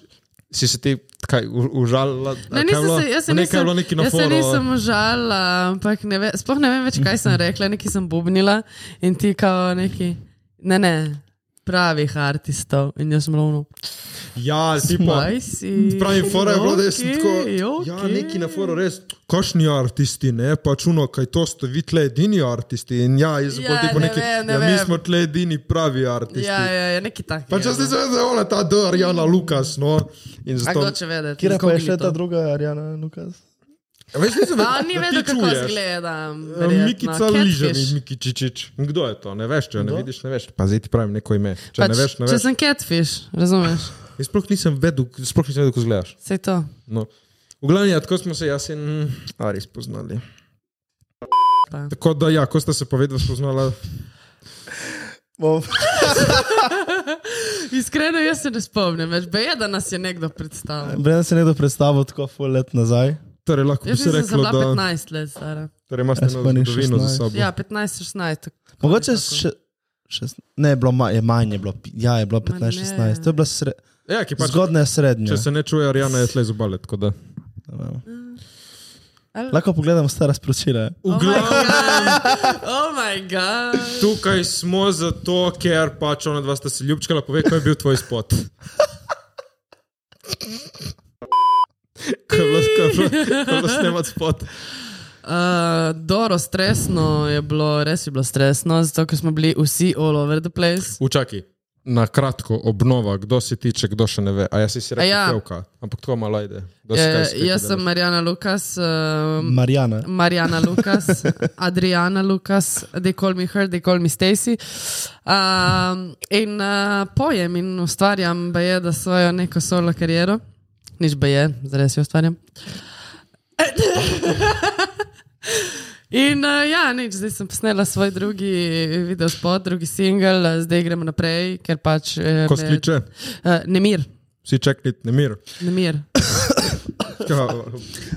si se ti kaj, u- užalila.
Ne, nisem se, jaz se
Nekaj je
nisem,
bilo neki na
jaz se
foru.
nisem užala, ampak ne ve, sploh ne vem več, kaj sem rekla, nekaj sem bubnila in ti kao neki, ne, ne, pravih artistov in jaz sem lovno.
Ja, si pa.
Maj si.
Pravi, fora je bilo, da sem
okej,
tako. Ja,
okej.
neki na foru res. Košni artisti, ne, pač uno, kaj to ste vi tle edini artisti. In ja, jaz sem
Ja,
bolj tipo
ne
neki,
vem, ne
ja, mi
vem.
smo tle edini pravi artisti. Pač
Ja, ja, ja, neki tak.
Pa če ste se zavedali, ta D, Arjana Lukas, no. In
A kdo
zato.
če vedeti?
Kje pa je še
Inkognito.
ta druga, Arjana Lukas?
Veš, nisem
A on ni
da ti
vedel, kako
čuješ.
izgledam.
Eh,
verjetno. No,
Mikica
Catfish.
Ližani, Mikičičič. Kdo je to? Ne veš, če jo ne
Kdo?
vidiš, ne veš. Pa zdaj ti pravim neko ime. Če
Pač,
ne veš, ne
če
veš.
sem catfish, razumeš?
Jaz sploh nisem vedel, sploh nisem vedel, ko zgledaš.
Vse to.
No. V glavnem, ja, tako smo se jaz in Ari spoznali.
Pa.
Tako da, ja, ko ste se povedali, spoznala.
Bom,
Iskreno, jaz se ne spomnim več. Beje, da nas je nekdo predstavil.
Brendan se je nekdo predstavil tako full let nazaj.
Torej, lahko bi
Jaz
se
mislim, da sem
reklo,
bila
da
15 let stara.
torej, imate
Jaz
eno
pa ni
zgodovino za
16.
sabo.
Ja, 15-16. tako-
Mogoče
nekako.
še, še, ne, je bilo ma, je manj, je bilo, pi- ja, je bilo
Ma
15-16,
ne.
to je bila sre,
ja ki pač,
zgodnja srednja.
če se ne čuje, Arjana je tle zobale. tako da.
Ali-
Lahko pogledamo stara sporočila.
V glavnem,
Oh moj bog.
tukaj smo zato, ker pač ona dva sta se ljubčkala, pove, kaj je bil tvoj spot. Kaj je bilo, kaj je bilo, kaj je bilo snemati spot?
Uh, Doro, stresno je bilo, res je bilo stresno, zato ker smo bili vsi all over the place.
Učaki. Na kratko, obnova, kdo si tiče, kdo še ne ve. A jaz si, si rekel,
A ja.
ja. pevka, ampak tako malo ajde. da si kaj
Eh,
skriti,
jaz
da
sem
ne-
Marjana Lukas, uh,
Marijana.
Marjana Lukas, Adriana Lukas, they call me her, they call me Stacy. Um, in uh, pojem in ustvarjam, ba je, da svojo neko solo kariero, nič ba je, zares jo ustvarjam. In uh, ja, nič, zdaj sem posnela svoj drugi video spot, drugi singel, eh, zdaj gremo naprej, ker pač. eh,
Ko
me-
skliče,
Eh, nemir,
si čekni, ne mir.
nemir.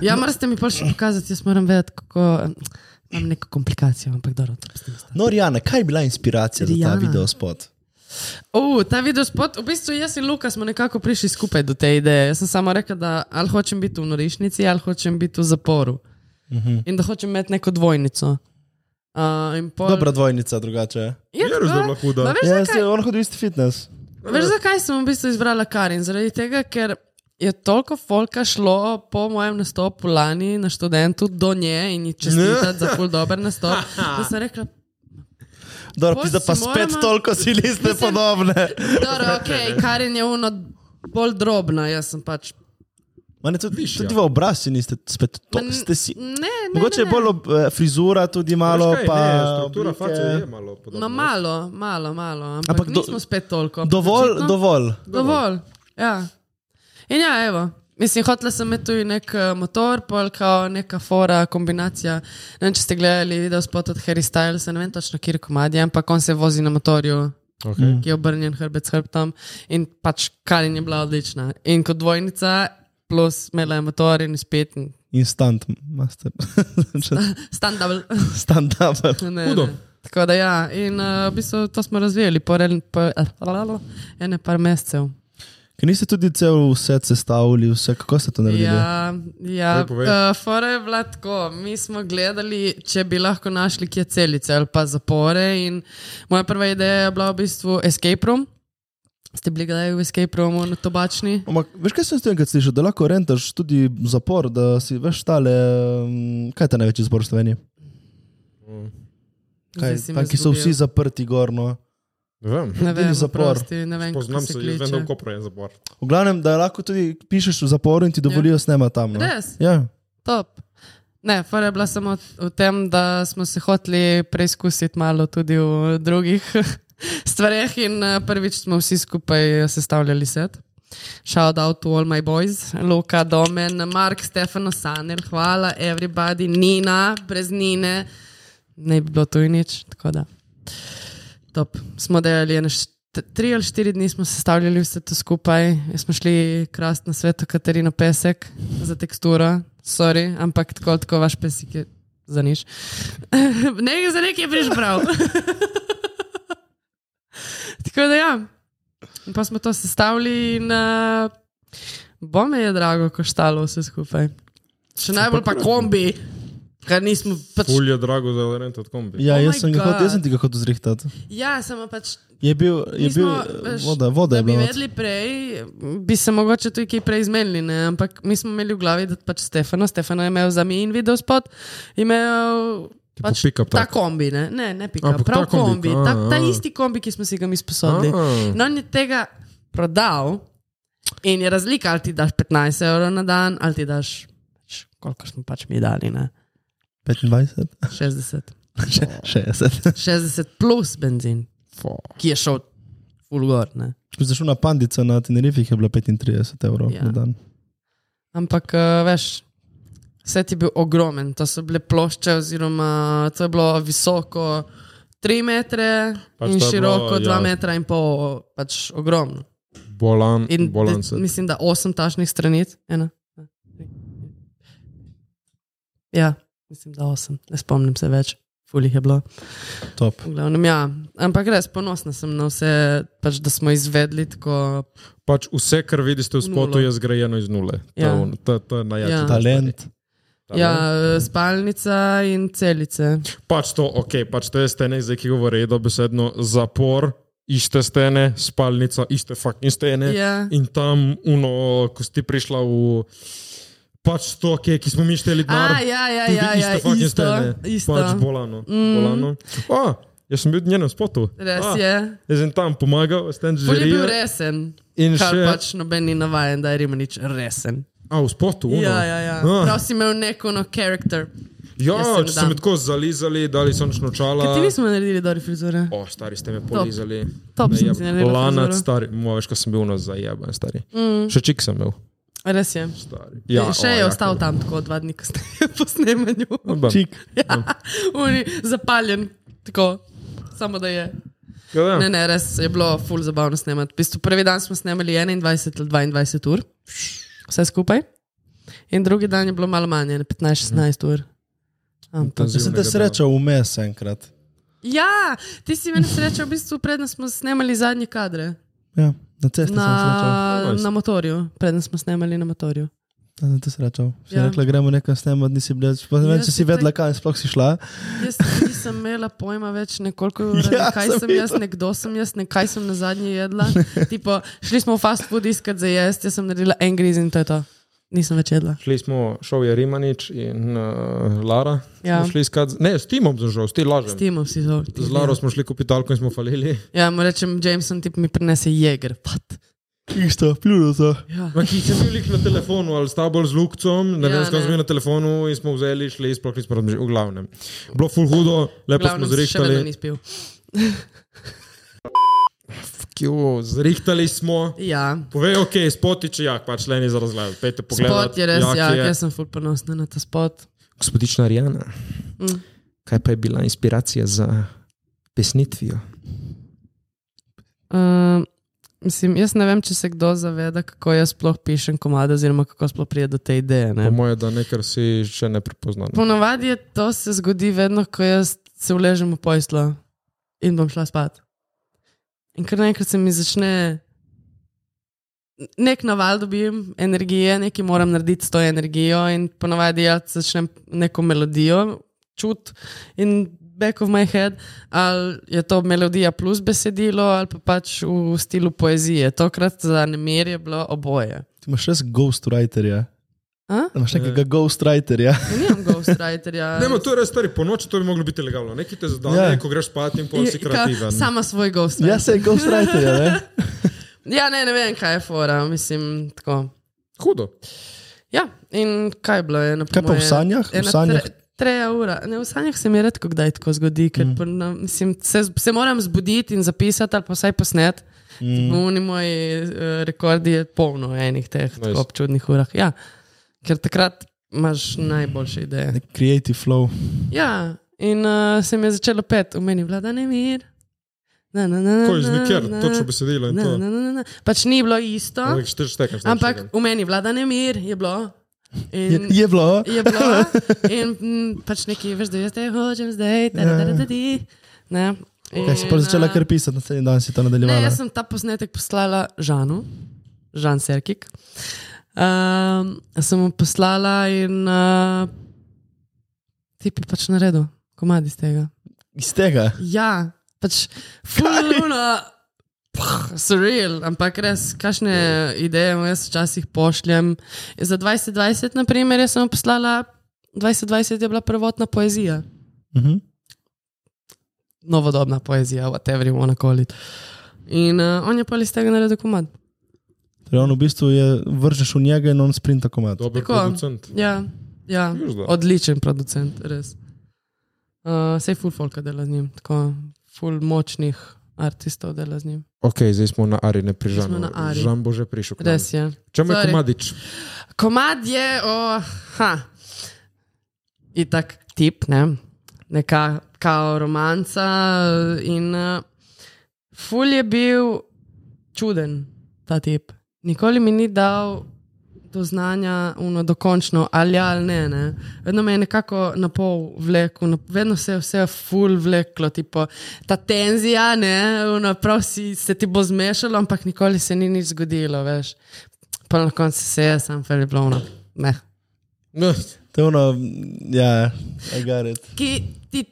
Ja, morate mi pa še pokazati, jaz moram vedeti, kako. eh, Imam neko komplikacijo, ampak dobro, to pustim.
No, Rijana, kaj je bila inspiracija Rijana. za
Rijana.
ta video spot?
Uh, ta video spot, v bistvu jaz in Luka smo nekako prišli skupaj do te ideje. Jaz sem samo rekel, da ali hočem biti v norišnici, ali hočem biti v zaporu. Uh
Mhm.
-huh. In da hočem imeti neko dvojnico. Uh, in pol...
Dobra dvojnica, drugače.
Ja,
Je res, da je bila
tako.
huda.
Ma Veš,
Ja,
yes.
se, on hodi v isti fitness.
veš, zakaj sem v bistvu izbrala Karin? Zaradi tega, ker je toliko folka šlo po mojem nastopu lani na študentu do nje in ji čestitati za ful dober nastop, da sem rekla,
Dobro,
Pol
pizda pa
si
spet
moramo-
toliko si liste podobne.
dobro, ok, Karin je uno bolj drobna, jaz sem pač
Mane tudi,
Višja.
tudi v obraz si niste spet to.
Ma n-
Ste si,
Ne, ne.
mogoče
ne,
je
ne.
bolj ob, eh, frizura tudi malo,
Veš kaj,
pa
ne, struktura
oblike.
face je malo podobna.
No, malo, malo, malo. Ampak,
Ampak
ampak
do-
nismo spet toliko. ampak
Dovolj,
očitno-
dovolj.
Dovolj. Ja. In ja, evo. Mislim, hotela sem imeti tudi nek eh, motor, pol kao neka fora, kombinacija. Ne vem, če ste gledali video spot od Harry Stylesa, ne vem točno, kjer komad je, ampak on se vozi na motorju,
Mm.
Okay.
ki je obrnjen hrbet s hrbtom in pač Karin je bila odlična. In kot dvojnica, plus imela je motor in spet in
Instant master.
stand-up.
Stand-up.
Ne,
Hudo.
ne. Tako da ja, in uh, v bistvu to smo razvijali po, rel, po eh, ene par mesecev.
Ker niste tudi cel vse sestavili, vse kako ste to naredili?
Ja, ja.
Povej, povej.
Uh, fora je bila tako. Mi smo gledali, če bi lahko našli kje celice ali pa zapore. in Moja prva ideja je bila v bistvu escape room. Ste bili kdaj v escape roomu na tobačni?
Ampak, veš, kaj sem s tem, kad slišal, da lahko rentaš tudi zapor, da si veš tale, mm, kaj je ta največji zapor v Sloveniji? Kaj,
Zdaj si me
tam, ki so vsi
izgubil.
zaprti no. gorno.
Ne vem.
Ne vem,
bili zapor.
oprosti, ne vem,
Poznam se,
kako se
jaz vem, da v
kliče.
Kopru je zapor.
V glavnem, da lahko tudi pišeš v zaporu in ti dovolijo snemati tam. No?
Ja. Res?
Ja.
Top. Ne, fora je bila samo v tem, da smo se hoteli preizkusiti malo tudi v drugih stvareh, in eh, prvič smo vsi skupaj sestavljali set. Shout out to all my boys, Luka, Domen, Mark, Stefano, Sanel, hvala, everybody, Nina, brez Nine, ne bi bilo tu in nič. tako da. Top. Smo delali ene št- tri ali štiri dni, smo sestavljali vse to skupaj. Smo šli krast na svetu Katarino Pesek za teksturo, sorry, ampak tako, tako vaš pesek je za nič. ne, za nekaj je prižbral. tako da ja. In Pa smo to sestavili in uh, bome je drago koštalo vse skupaj. Še najbolj pa kombi, ker nismo pač.
Pulj je drago za rentat kombi.
Ja,
Oh
jaz,
my
sem ga
God.
hotel, jaz sem ti ga hotel zrihtati.
Ja, samo pač
Je bil, je
Mi
bil
smo,
veš,
veš,
voda, voda
Da
je
bi
bila. not.
vedeli prej, bi se mogoče tudi kaj prej zmenili, ne? ampak mi smo imeli v glavi, da pač Stefano, Stefano je imel za mi in video spot, imel
Tipo
pač
pick-up
ta
truck.
kombi, ne, ne, ne pika,
Ampak ta
prav
kombi,
kombi,
a,
ta, ta
a.
isti kombi, ki smo si ga mi
Ja,
sposodili.
A.
No, on je tega prodal in je razlika, ali ti daš 15 evrov na dan, ali ti daš, pač, koliko smo pač mi dali, ne?
25,
60.
Še-
Ja.
60.
60 plus benzin, ki je šel fulgor, ne.
Ko si šel na pandico na Tenerifih, je bilo 35 evrov
Ja.
na dan.
Ampak, eh, veš, set je bil ogromen. To so bile plošče, oziroma to je bilo visoko 3 metre
Pač
pač in
to je
široko
bilo,
2 ja.
ja.
metra in pol, pač ogromno.
Bolan,
In
bolan
de,
se.
mislim, da 8 tašnih stranic. Ena, dva, tri. Ja, mislim, da 8, ne spomnim se več. Fulih je bilo.
Top.
V Glavnem, ja. Ampak res ponosna sem na vse, pač, da smo izvedli tako.
Pač vse, kar vidiš v spotu,
Nulo.
je zgrajeno iz nule. To je
Ja.
ono, To, to je najjače.
Ja.
Talent.
Ja, eh, spalnica in celice.
Pač to, ok, pač to je stene, zdaj ki govori dobesedno zapor, iste stene, spalnica, iste fucking stene.
Ja.
In tam, uno, ko si ti prišla v. Pač to, ki, ki smo mi šteli
A,
gor.
ja, ja,
tudi
ja, ja,
iste fucking
isto,
stene.
isto.
Pač bolano. Mm. bolano. A, jaz sem bil v njenem spotu.
Res
A,
je.
Jaz sem tam pomagal, stand
Bolj je bil
žirijo.
resen.
In
Kar
še.
pač noben ni navaden, da je Rimanič resen.
A, v spotu, uno.
Ja, ja, ja.
Ah.
Prav si imel neko no karakter. Jaz
Ja,
sem
če ste me
dan.
tako zalizali, dali sončno
Ker
čala.
ti nismo naredili dobre frizure.
O, stari ste me polizali.
Top sem si naredila
Lanac,
frizuro.
stari, moj, veš, ko sem bil na zajeben, stari. Mm. Še čik sem imel.
Res je.
Stari.
Ja, še
o, no,
je
jako.
ostal tam tako dva dni kasneje po snemanju.
Urban.
Čik.
Ja, Uni, zapaljen, tako, samo da je.
Ja, ja.
Ne, ne, res je bilo ful zabavno snemati. V bistvu prvi dan smo snemali 21 ali 22 ur, vse skupaj. In drugi dan je bilo malo manj, ene 15-16 ur. Ampak,
Jaz sem te srečal vmes enkrat.
ja, ti si meni srečal, v bistvu, predtem smo snemali zadnje kadre.
Ja, na cesti sem srečal.
Na,
Nice.
na motorju, predtem smo snemali na motorju.
Ja, sem te srečal. Si
Ja.
rekla, gremo nekam snemati, nisi bila, pa ne vem,
Jaz
če si
sem
vedela,
tak-
kaj sploh si šla.
Jaz nisem imela pojma več, nekoliko ur,
Ja,
ja, kaj
sem
sem, sem jaz,
videla.
nekdo sem jaz, ne, kaj sem na zadnji jedla. Tipo, šli smo v fast food iskat za jesti, jaz sem naredila en griz in to je to. Nisem več jedla.
Šli smo, šel je Rimanič in uh, Lara.
Ja.
Smo šli iskat, z- ne, s Timom sem šel, s ti lažem.
S tem vsi so.
Z Laro smo šli kupiti alko in smo falili.
Ja, mu rečem, Jameson ti mi prinese jeger. What?
Isto, pljuno so.
Ja.
Ma, ki sem bil lik na telefonu ali sta bolj z lukcom, ne
Ja,
vem, skam
ne.
smo bili na telefonu in smo vzeli, šli, sploh nismo razmišljali, v glavnem. Bilo ful hudo, lepo smo
Glavno še vedno
zrihtali.
nisem pil.
Kjo, zrihtali smo.
Ja.
Povej, ok, spot je čijak, pač le ni za razgled. Pejte pogled.
Spot je res, ja, jaz sem ful ponosna na ta spot.
Gospodična Rijana,
Mm.
kaj pa je bila inspiracija za pesnitvijo?
Uh, mislim, jaz ne vem, če se kdo zaveda, kako jaz sploh pišem komade, oziroma kako sploh pride do te ideje.
Po
Ne?
moje, da nekaj si še ne no. prepoznal.
Ponovadi je to se zgodi vedno, ko jaz se uležem v posla in bom šla spat. In kar naenkrat se mi začne. Nek naval dobim energije, nekaj moram narediti s to energijo, in ponovadi jaz začnem neko melodijo, čut in back of my head, ali je to melodija plus besedilo, ali pa pač v stilu poezije. Tokrat za nemir je bilo oboje.
Ti imaš res ghostwriterja.
A? Eh.
Imaš nekega ghostwriterja.
Ja, nimam ghostwriterja.
Ne, ma, to je res stari, po noči to bi moglo biti legalno. Nekaj te zadane,
Ja.
yeah. ko greš spat in pol si
Je- Ja, ka-
kreativen.
Sama svoj ghost.
Ja, se je ghostwriterja, ne?
Ja, ne, ne vem, kaj je fora, mislim tako.
Hudo.
Ja, in kaj je bilo? Je, na
Kaj pa v
moje
sanjah? V
ena
sanjah?
tre- Treja ura. Ne, v sanjah se mi redko kdaj tako zgodi, ker mm. na, mislim, se, se moram zbuditi in zapisati ali pa vsaj posnet. Mm. Vni moji uh, rekordi je polno enih teh nice.
Nice.
ob čudnih urah. Ja, ker takrat imaš najboljše ideje.
Nek Creative flow.
Ja, in uh, se mi je začelo pet, v meni vlada nemir. Na, na, na, na,
Ko je znikjer,
na,
točno besedilo in
na,
to.
na, na, na, na. Pač ni bilo isto,
Ampak štiri štekam.
ampak v meni vlada nemir je bilo.
Je,
In,
je bilo.
je bilo. In mm, pač neki, veš, da jaz te hočem zdaj, da da da da di. Ne. eh,
Kaj si pa začela kar pisati, naslednji dan si to
Ne,
nadaljevala.
jaz sem ta posnetek poslala Žanu, Žan Serkik. Um, sem mu poslala in uh, ti bi pač naredil, komadi iz tega.
Iz tega.
Ja, pač fuluna. Surreal, ampak res, kakšne ideje mu jaz včasih pošljem. Za 2020, na primer, jaz sem mu poslala, 2020 je bila prvotna poezija,
Mhm.
novodobna poezija, whatever you wanna call it. In uh, on je pa iz tega naredil komad.
Torej, on v bistvu je vržeš v njega in on sprinta komad.
Dober
Tako.
producent.
Ja, ja
Južda.
odličen producent, res. Uh, Sej full folka dela z njim, tako full močnih artistov dela z njim.
Ok, zdaj smo na Ari, ne pri
Zdaj smo
Žanu.
na Ari.
Žan bo že prišel. k nam.
Res je.
Čemu je
Sorry.
komadič?
Komad je, oh, ha, in tak tip, ne, neka kao romanca. In uh, ful je bil čuden ta tip. Nikoli mi ni dal do znanja, uno, dokončno ali ja ali ne, ne. Vedno me je nekako na pol vleko, na, vedno se je vse ful vleklo, tipo ta tenzija, ne, uno, prav si se ti bo zmešalo, ampak nikoli se ni nič zgodilo, veš. Pa na koncu se je sam feliblovno. Ne.
Ne,
To je ono, ja, agaret.
Ki ti.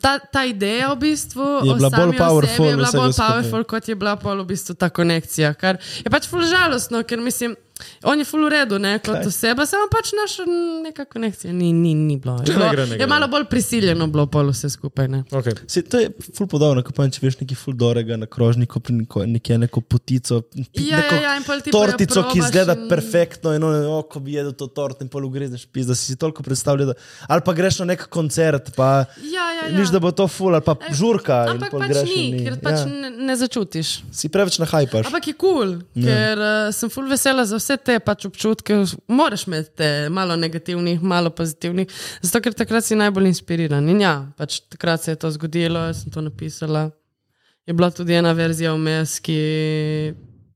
Ta, ta ideja v bistvu
Je
o
bila
sami
bolj
osebi
powerful
je bila
vsega
bolj
skupaj.
powerful, kot je bila pol v bistvu ta konekcija. Kar je pač ful žalostno, ker mislim, on je ful uredu, ne kot
Kaj?
oseba, samo pač naša mm, neka konekcija ni, ni, ni bilo. Je,
Ne
bilo,
gre, ne gre.
je malo bolj prisiljeno bilo pol vse skupaj. Ne?
okay.
Se, to je ful podobno, kot pa če veš nekaj ful dorega na krožniku, pri neko, nekje neko potico, pi-
Ja,
neko
ja, ja, in pol ti pa jo
tortico, ki
probaš
izgleda
in-
in... perfektno in ono, o, ko bi jedel to tort in pol ugrizneš pis, da si si toliko predstavljal, da... ali pa greš na nek koncert, pa
Ja, ja, ja.
viš, da bo to ful, ali pa
Eh,
žurka in
Ampak
pol
pač
greš in
ni, ker
ja.
pač ne, ne začutiš.
Si preveč nahajpaš.
Ampak je kul, cool, ker uh, sem full vesela za vse te pač občutke. Moraš imeti te malo negativnih, malo pozitivnih, zato ker takrat si najbolj inspiriran. In ja, pač takrat se je to zgodilo, jaz sem to napisala. Je bila tudi ena verzija vmes, ki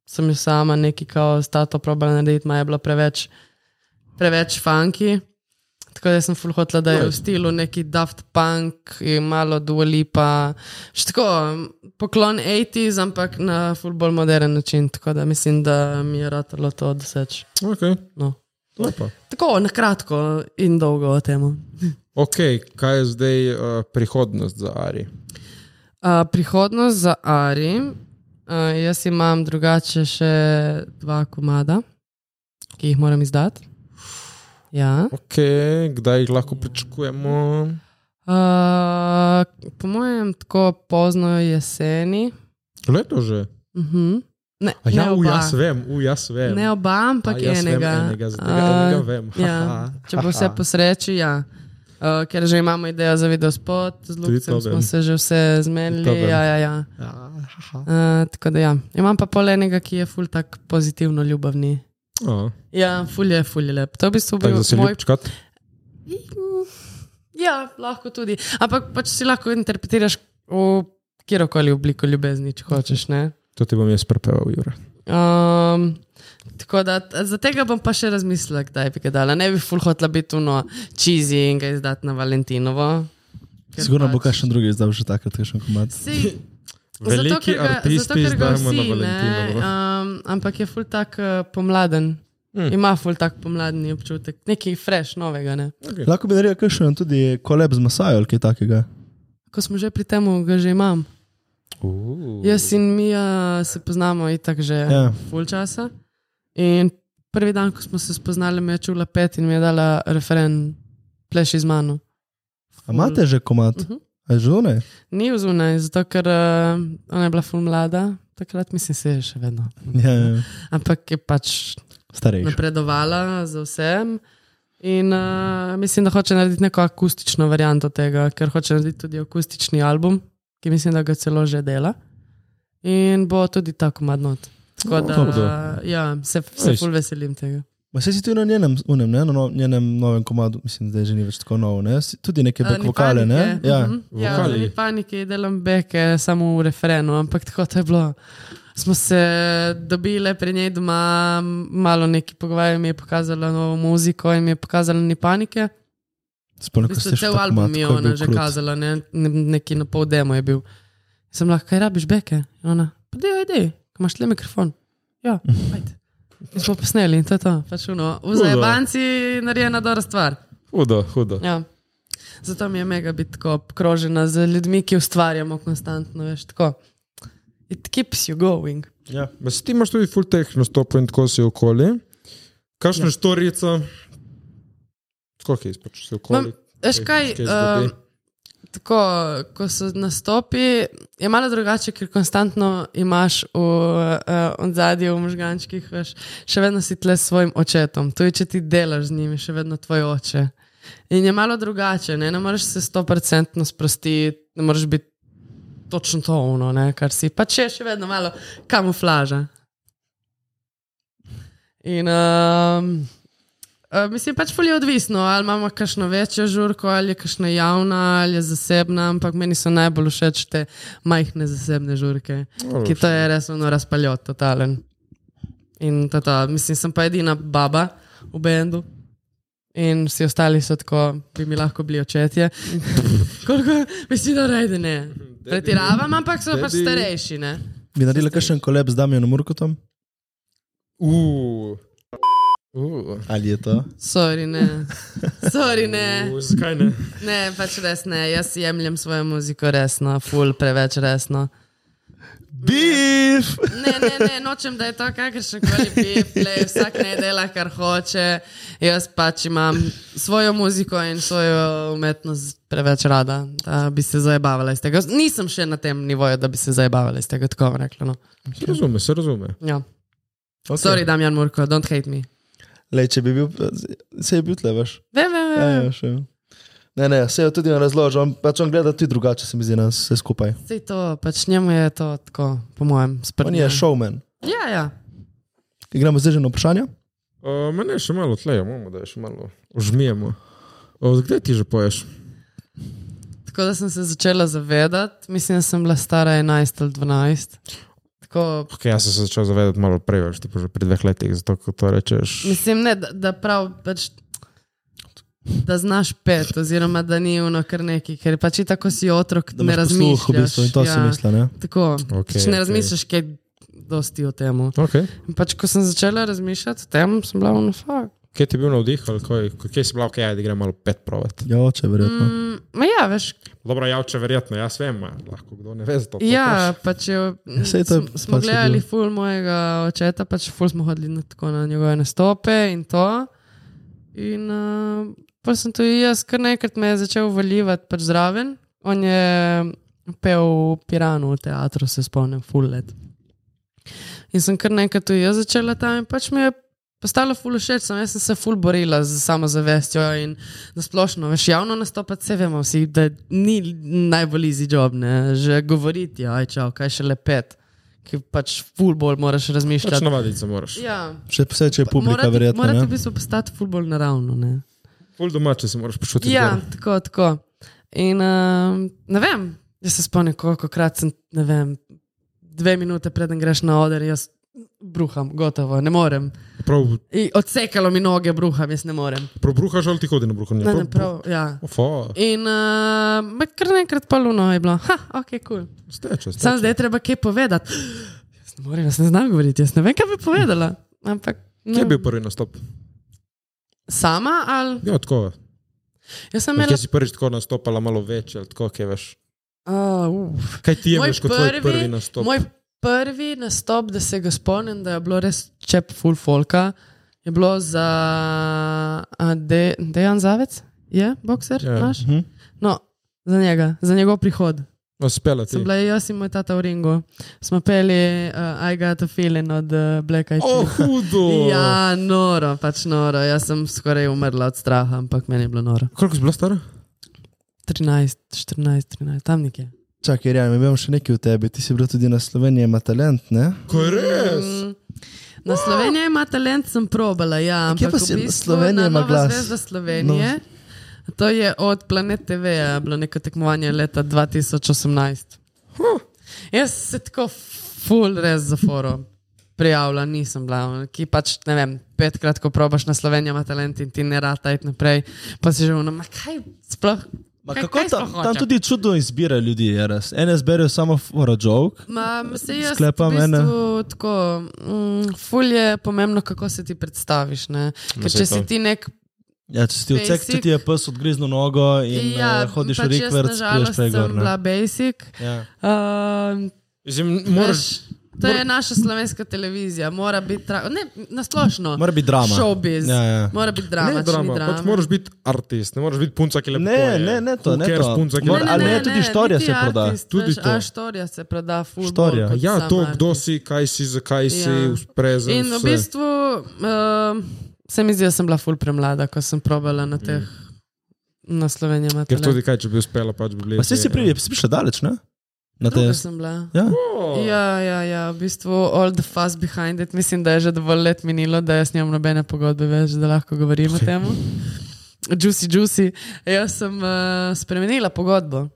sem jo sama neki kao stato probala narediti, ma je bila preveč, preveč funky. Tako da sem full hotla, da je v stilu neki Daft Punk, in malo dualipa, še tako um, poklon 80s, ampak na full bolj moderen način. Tako da mislim, da mi je ratalo to doseč.
Okay.
No.
Lepo.
Tako, na kratko in dolgo o tem.
ok, kaj je zdaj uh, prihodnost za Ari?
Uh, prihodnost za Ari. Uh, jaz imam drugače še dva komada, ki jih moram izdati. Ja.
Ok, kdaj jih
Mm.
lahko pričakujemo?
Uh, po mojem, tako pozno jeseni.
Leto že.
Uh -huh. Ne,
A ja,
ne
u,
oba.
jaz vem, u, jaz vem.
Ne oba, ampak
A jaz vem
enega.
enega, za tega enega vem.
ja,
Haha.
če bo vse po sreči, ja. Uh, ker že imamo idejo za video spot, z
Tudi to
Lukem smo
vem.
se že vse zmenili.
To vem.
Ja, ja, ja. Uh, tako da ja. Imam pa pol enega, ki je ful tak pozitivno ljubavni.
A,
Ja, ful je, ful je lep. To je v bistvu bil
tako da si
moj
ljubčkat.
Ja, lahko tudi. Ampak pač si lahko interpretiraš v kjerkoli obliko ljubezni, če hočeš. Ne?
To ti bom jaz prepeval, Jure.
Um, tako da t- za tega bom pa še razmislila, kdaj bi ga dala. Ne bi ful hotla biti uno čizi in ga izdati na Valentinovo. Ker
Sigurno bo
pač-
kakšen drugi izdal še takrat, kakšen komad.
Saj,
Veliki
zato, ker ga-
artisti
zato, ker ga
izdajmo na
vsi,
Valentinovo.
ne, Um, ampak je ful tak uh, pomladen.
Hmm.
Mm. Ima ful tak pomladni občutek, nekaj fresh, novega. Ne?
Lahko bi naredil kakšen tudi koleb z Masajo ali kaj takega.
Ko smo že pri tem, ga že imam. Jaz in Mija se poznamo itak že
Ja.
ja. full časa. In prvi dan, ko smo se spoznali, me je čula pet in mi je dala referen, pleš iz mano.
A imate že komad?
Mm. Mhm.
A je že one?
Ni v zunaj, zato ker uh, ona je bila full mlada, takrat mislim, se je še vedno.
Ja, ja, ja.
Ampak je pač
starejši.
napredovala za vsem. In uh, mislim, da hoče narediti neko akustično varianto tega, ker hoče narediti tudi akustični album, ki mislim, da ga celo že dela. In bo tudi tako madnot. Tako
No,
Dobro.
da ja, se, se
Nice.
ful veselim tega.
Ma se si tudi na njenem, unem, ne, na no, njenem novem komadu, mislim, da je že ni več tako nov, ne? Si Tudi neke
A,
back
Eh, ni
vokale, ne?
panike.
Ja.
Mhm. ja
Vokali.
ni panike, delam beke, samo v referenu, ampak tako to je bilo. Smo se dobili pri njej doma, malo neki pogovarjali, mi je pokazala novo muziko in mi je pokazala ni panike.
Spomnim,
V
ko
bistvu
ste še
cel
ta komad,
album
ko
je
je bil
ona že
krut.
kazala, ne? Ne, neki na pol demo je bil. Sem lahko, kaj rabiš, beke? In Ona, pa dej, dej, imaš le mikrofon. Ja, ajde. In smo posneli in to je to. Pač uno, v zajebanci narejena dobra stvar.
Hudo, hudo.
Ja. Zato mi je mega biti tako obkrožena z ljudmi, ki ustvarjamo konstantno, veš, tako. It keeps you going.
Ja. Ma si ti imaš tudi full tehno stopo in tako si okoli. Kakšna ja. štorica? Tako je izpač, si
Mam,
okoli.
veš
Kaj-
kaj,
kaj zgodi?
um, tako, ko so nastopi, je malo drugače, ker konstantno imaš v uh, zadju, v možgančkih, veš, še vedno si tle s svojim očetom. To je, če ti delaš z njimi, še vedno tvoj oče. In je malo drugače, ne, ne moreš se stoprocentno sprostiti, ne moreš biti točno to ono, ne, kar si. Pa če je še vedno malo kamuflaža. In um, Uh, mislim, pač fulje odvisno, ali imamo kakšno večjo žurko, ali je kakšna javna, ali je zasebna, ampak meni so najbolj všeč te majhne zasebne žurke,
Dobro,
ki to je res ono razpaljot, totalen. In to, je to, mislim, sem pa edina baba v bendu. In vsi ostali so tako, bi mi lahko bili očetje. Koliko, mislim, da rejde ne. Pretiravam, ampak so pač
Daddy.
starejši. Ne?
Bi naredila kakšen koleb z Damjanom Urkotom?
Uh. Uh.
Ali je to?
Sorry, ne. Sorry, ne.
Uh, Zakaj ne?
Ne, pač res ne. Jaz jemljem svojo muziko resno, ful, preveč resno.
Beef!
Ne, ne, ne, nočem, da je to kakršen koli biplej, vsak ne dela, kar hoče. Jaz pač imam svojo muziko in svojo umetnost preveč rada, da bi se zabavala iz tega. Nisem še na tem nivoju, da bi se zabavala iz tega, tako bom rekla. No.
Se razume, se razume.
Ja.
Okay.
Sorry, Damjan Murko, don't hate me.
Lej, če bi bil, se je bil tle, veš.
Vem, vem,
Ja,
vem.
ja, še. Ne, ne, se je tudi on razložil, on, pač on gleda tudi drugače, se mi zdi, nas vse skupaj.
Sej to, pač njemu je to tako, po mojem,
ja. On
sprtno.
je showman.
Ja, ja.
Igramo zdaj že na vprašanje?
Uh, mene še malo tleje, imamo, da je še malo užmijemo. Odkdaj ti že poješ?
Tako da sem se začela zavedati, mislim, da sem bila stara 11 ali 12. Tako,
Okay, jaz sem se začel zavedati malo prej, veš, tipo že pri dveh letih, zato ko to rečeš.
mislim, ne, da, da prav pač. Da znaš pet, oziroma da ni ono kar neki, ker pač tako si otrok,
Da
da ne
imaš
razmišljaš. Ja.
posluh v bistvu in to si misli, ne?
Tako,
Okej,
okay, pač ne
okej.
razmišljaš, kaj dosti o tem.
Okay.
Pač, ko sem začela razmišljati o tem, sem bila ono fakt.
Kje ti je bil navdih, ali kaj, kje si bila, ok, ajde, gremo malo pet provat.
Ja, oče, verjetno. Mm.
Ma ja, veš,
Dobro, javče, verjetno, jaz vem, a lahko kdo ne ve za to.
Ja, pač je,
saj to je
sm- smo
pač
gledali
bilo.
ful mojega očeta, pač ful smo hodili na, tako na njegove nastope in to. In uh, pa sem tudi jaz, kar nekrat me je začel valjivati pač zraven. On je pel v Piranu v teatru, se spomnim, ful let. In sem kar nekaj tu jaz začela tam in pač mi je postalo ful všeč, sem, jaz sem se ful borila z samozavestjo in nasplošno, veš, javno nastopati se vemo vsi, da ni najbolj easy job, ne, že govoriti, aj čau, kaj še lepet, ki pač ful bolj moraš
Pač
razmišljati.
navaditi se moraš.
Ja,
Še posebej, če je publika,
morate,
verjetno. ja.
morate
ne?
v bistvu postati ful bolj naravno, ne.
Pol domače se moraš počutiti.
Ja,
dobro.
tako, tako. In um, ne vem, jaz se spomnim, koliko krat sem, ne vem, dve minute preden greš na oder, jaz bruham, gotovo, ne morem.
Prav,
I odsekalo mi noge, bruham, jaz ne morem.
prav bruhaš ali ti hodi na bruhanje?
Ne, ne, prav, ja.
Ofa,
In uh, kar naenkrat pa luno je bilo, ha, ok, kul. Cool.
steče, steče.
Sam zdaj je treba kaj povedati. Jaz ne morem, jaz ne znam govoriti, jaz ne vem, kaj bi povedala. Ampak,
Kje
ne,
je bil prvi nastop?
Sama ali?
Ja, tako.
Jaz sem
Imela...
imela.
Kje si prvič tako nastopala, malo več, ali tako, kje veš?
Uh, uf.
Kaj ti je
Moj
veš kot tvoj prvi nastop?
Moj prvi nastop, da se ga spomnim, da je bilo res čep full folka, je bilo za a, De, Dejan Zavec, je bokser
Ja.
yeah. naš.
Mhm.
No, za njega, za njegov prihod.
No, spela ti.
Sem bila jaz in moj tata v ringu. Smo peli uh, I got a feeling od uh, Black Eyed
O,
Peas.
hudo!
Ja, noro, pač noro. Jaz sem skoraj umrla od straha, ampak meni je bilo noro.
Koliko si bila stara?
13, 14, 13, tam nekje.
Čakaj, Rjan, imam še nekaj v tebi. Ti si bil tudi na Sloveniji, ima talent, ne?
Ko je res?
Mm, Na Sloveniji ima talent, sem probala. Ja,
Kje
ampak
pa
v
si-
bistvu
Slovenija
na
ima
Nova
glas?
Zvezda Slovenije. No. To je od Planet TV, je bilo neko tekmovanje leta 2018. Jaz se tako full res za foro prijavila, nisem bila, ki pač ne vem, petkrat, ko probaš na Slovenijo, ima talent in ti ne rata iti naprej, pa si že vnama, kaj sploh.
Ma
kaj-
kako
kaj
tam,
sploh
tam
hoče?
tudi čudno izbira ljudi, je res. Ene zberejo samo fora joke.
Ma, se jaz
Sklepam,
sklepam v
ene.
bistvu tako. Mm, ful je pomembno, kako se ti predstaviš. Ne? Ker
saj
če
to.
si ti nek.
Ja, če si ti odsek,
Basic.
ti je pes odgriznil nogo in ja,
Ja,
uh, hodiš
pač
v
jaz
rekvert,
nažalost
sprejš pregor.
sem
ne?
bila basic.
Ja.
Uh,
Mislim,
Moraš,
moraš...
to je naša slovenska televizija, mora biti tra... ne, nasplošno.
Mora biti drama.
Showbiz.
Ja, ja.
Mora biti
Ne,
drama. če ni
drama, pač moraš biti artist, ne moraš biti punca, ki lepo
Ne,
poje.
ne, ne to,
Who
ne
cares,
to.
Punca, ki
Mora-
lepo
ali
poje.
ne, tudi štorija
niti
se proda.
Artist,
Tudi
tudi veš,
to.
to. A štorija se proda, full.
Štorija.
Štorija. Bolj, kot
Ja,
sam
to,
artist.
kdo si, kaj si, zakaj si,
Ja.
prezen.
In v bistvu uh, se mi zdi, da sem bila ful premlada, ko sem probala na teh na Sloveniji. ima
Mm. Ker
talent.
tudi kaj, če bi uspela, pač bi bili.
Pa si si prišel, si prišel daleč, ne? Na te.
Druga sem bila.
Ja.
Oh,
Ja, ja, ja, v bistvu all the fuss behind it. Mislim, da je že dovolj let minilo, da jaz nimam nobene pogodbe več, da lahko govorim o tem. Juicy, juicy. Jaz sem uh, spremenila pogodbo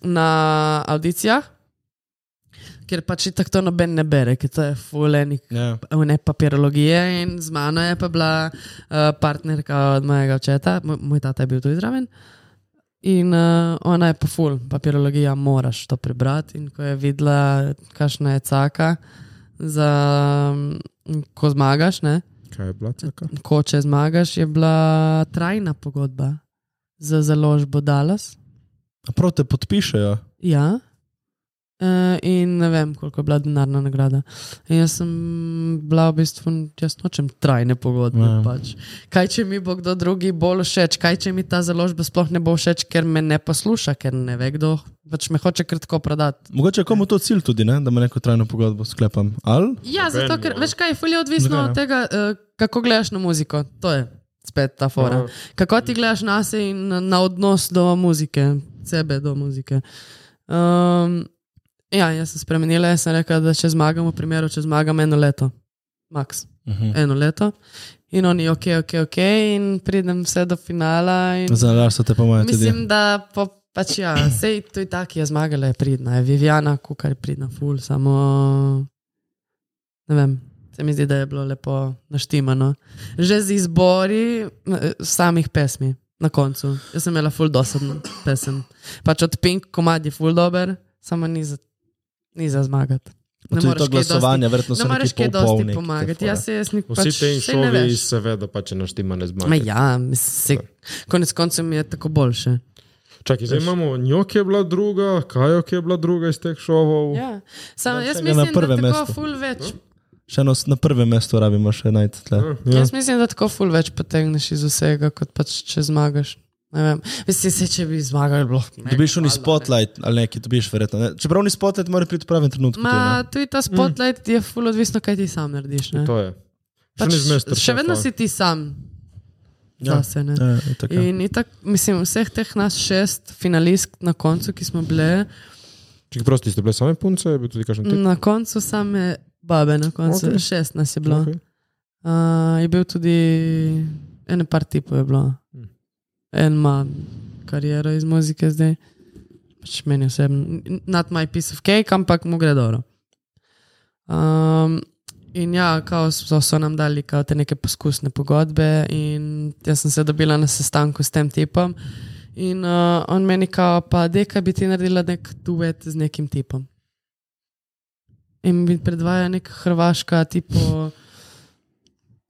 na avdicijah, ker pač tako to noben ne bere, ker to je fulenik
Ja.
ne papirologije in z mano je pa bila uh, partnerka od mojega očeta, moj, moj tata je bil tudi zraven. In uh, ona je pa ful, papirologija, moraš to prebrati. In ko je videla, kakšna je caka, za, um, ko zmagaš, ne?
Kaj je bila taka?
ko če zmagaš, je bila trajna pogodba za založbo Dallas.
A Prav te podpišejo.
Ja. Uh, in ne vem, koliko je bila denarna nagrada. In jaz sem bila v bistvu, jaz nočem trajne pogodbe.
Ja.
Ja. Pač. Kaj, če mi bo kdo drugi bolj všeč, kaj, če mi ta založba sploh ne bo všeč, ker me ne posluša, ker ne ve kdo, pač me hoče kratko prodati.
Mogoče je komu to cilj tudi, ne? da ima neko trajno pogodbo sklepam. Al?
Ja,
Noben
zato ker
bo. no.
veš, kaj je fulje odvisno
Zakaj ne?
od tega, uh, kako gledaš na muziko. To je spet ta fora.
Ja.
Kako ti gledaš na sebe in na- na odnos do muzike, sebe do muzike. Um, ja, jaz sem spremenila, jaz sem rekla, da če zmagam, v primeru, če zmagam eno leto, max
Uh
Mhm.
-huh.
eno leto. In oni, ok, ok, ok, in pridem vse do finala. In...
Zanadar so te pa moje Ja, tudi.
Mislim, da pa, pač ja, sej to je tako, je zmagala, je pridna, je Viviana, kukar je pridna, ful, samo ne vem. Se mi zdi, da je bilo lepo naštimano. Že z izbori eh, samih pesmi na koncu. Jaz sem imela ful dosadno pesem. Pač od Pink komad je ful dober, samo ni za, ni za zmagati.
Pa tudi to glasovanje, verjetno
Ne
so
moreš kaj
neki pol
dosti
polnik.
pomagati. Jaz se jaz nikoli
Vsi pač,
pač,
te
saj ne veš.
šovi, seveda, pač je naštima ne
Ma
zmanjka.
ja, se, konec koncev mi je tako boljše.
Čakaj, zdaj imamo njo, ki je bila druga, Kajo, ki je bila druga iz teh šovov.
Ja. Sam,
Dam
jaz
še ga na
mislim, da
prvem mestu.
tako ful več.
Še eno s- na prvem mestu rabimo še najti tle.
Ja.
Jaz mislim, da tako ful več potegneš iz vsega, kot pač če zmagaš Ne vem, veste, se, če bi zmagali, bilo. ne,
Dobiš oni
valjda, ne.
spotlight ali nekaj, dobiš verjetno. Ne? Čeprav ni spotlight, mora priti v pravem trenutku.
Ma, tudi ta spotlight mm. je ful odvisno, kaj ti sam narediš. ne.
To je. Še,
Pač,
ni zmester,
še vedno si ti sam.
Ja.
Ja, se ne.
Ja, je tako.
In itak, mislim, vseh teh nas šest finalistk na koncu, ki smo bile,
Če prosti ste bile same punce, je bil tudi kakšen tip.
na koncu same babe, na koncu
Okej.
okay. šest nas je bilo.
Okej.
Okay. Uh, je bil tudi en par tipov, je bilo.
Mm.
En ima kariero iz muzike zdaj. Pač meni osebno, not my piece of cake, ampak mu gre dobro. Um, in ja, kao so, so nam dali kao te neke poskusne pogodbe, in jaz sem se dobila na sestanku s tem tipom. In uh, on meni kao, pa deka bi ti naredila nek duet z nekim tipom. In mi predvaja nek hrvaška, tipo,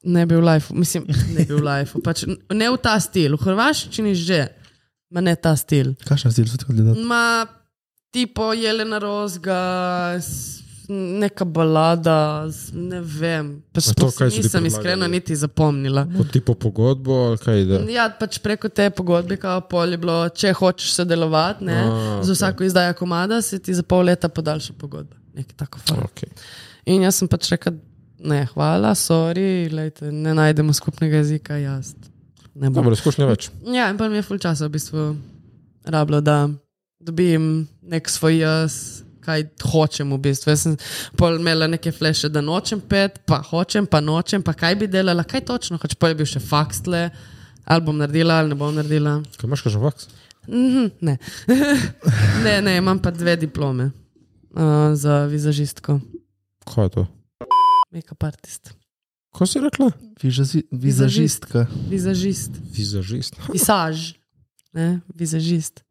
ne bi v lifeu, mislim, ne bi v lifeu, pač n- ne v ta stil, v hrvaščini že, ma ne ta stil.
Kakšen stil so ti gledali?
Ma tipo Jelena Rozga, s- neka balada, s- ne vem. Pač
A to,
sploh
kaj so ti
si nisem
predlagali?
iskreno niti zapomnila.
Po tipu pogodbo, ali kaj ide.
Ja, pač preko te pogodbe, kao pol je bilo, če hočeš sodelovati, ne,
A,
okay. za
okej.
vsako izdajo komada se ti za pol leta podaljša pogodba. Nekaj tako fajn.
Okay.
In jaz sem pač rekel, ne, hvala, sorry, lejte, ne najdemo skupnega jezika, jaz. Ne bom.
Dobro, izkušnja več.
Ja, in pa mi je ful časa v bistvu rabilo, da dobim nek svoj jaz, kaj hočem v bistvu. Jaz sem pol imela neke fleše, da nočem pet, pa hočem, pa nočem, pa kaj bi delala, kaj točno, hoče pa je bil še faks tle, ali bom naredila, ali ne bom naredila.
Kaj imaš, kažem, vaks?
Mhm, ne. ne, ne, imam pa dve diplome uh, za vizažistko,
Kaj je to?
make-up artist.
Ko si rekla?
Mm.
Vizazi- Vizažistka.
Vizažist,
Vizažist.
visaž, ne, vizažist.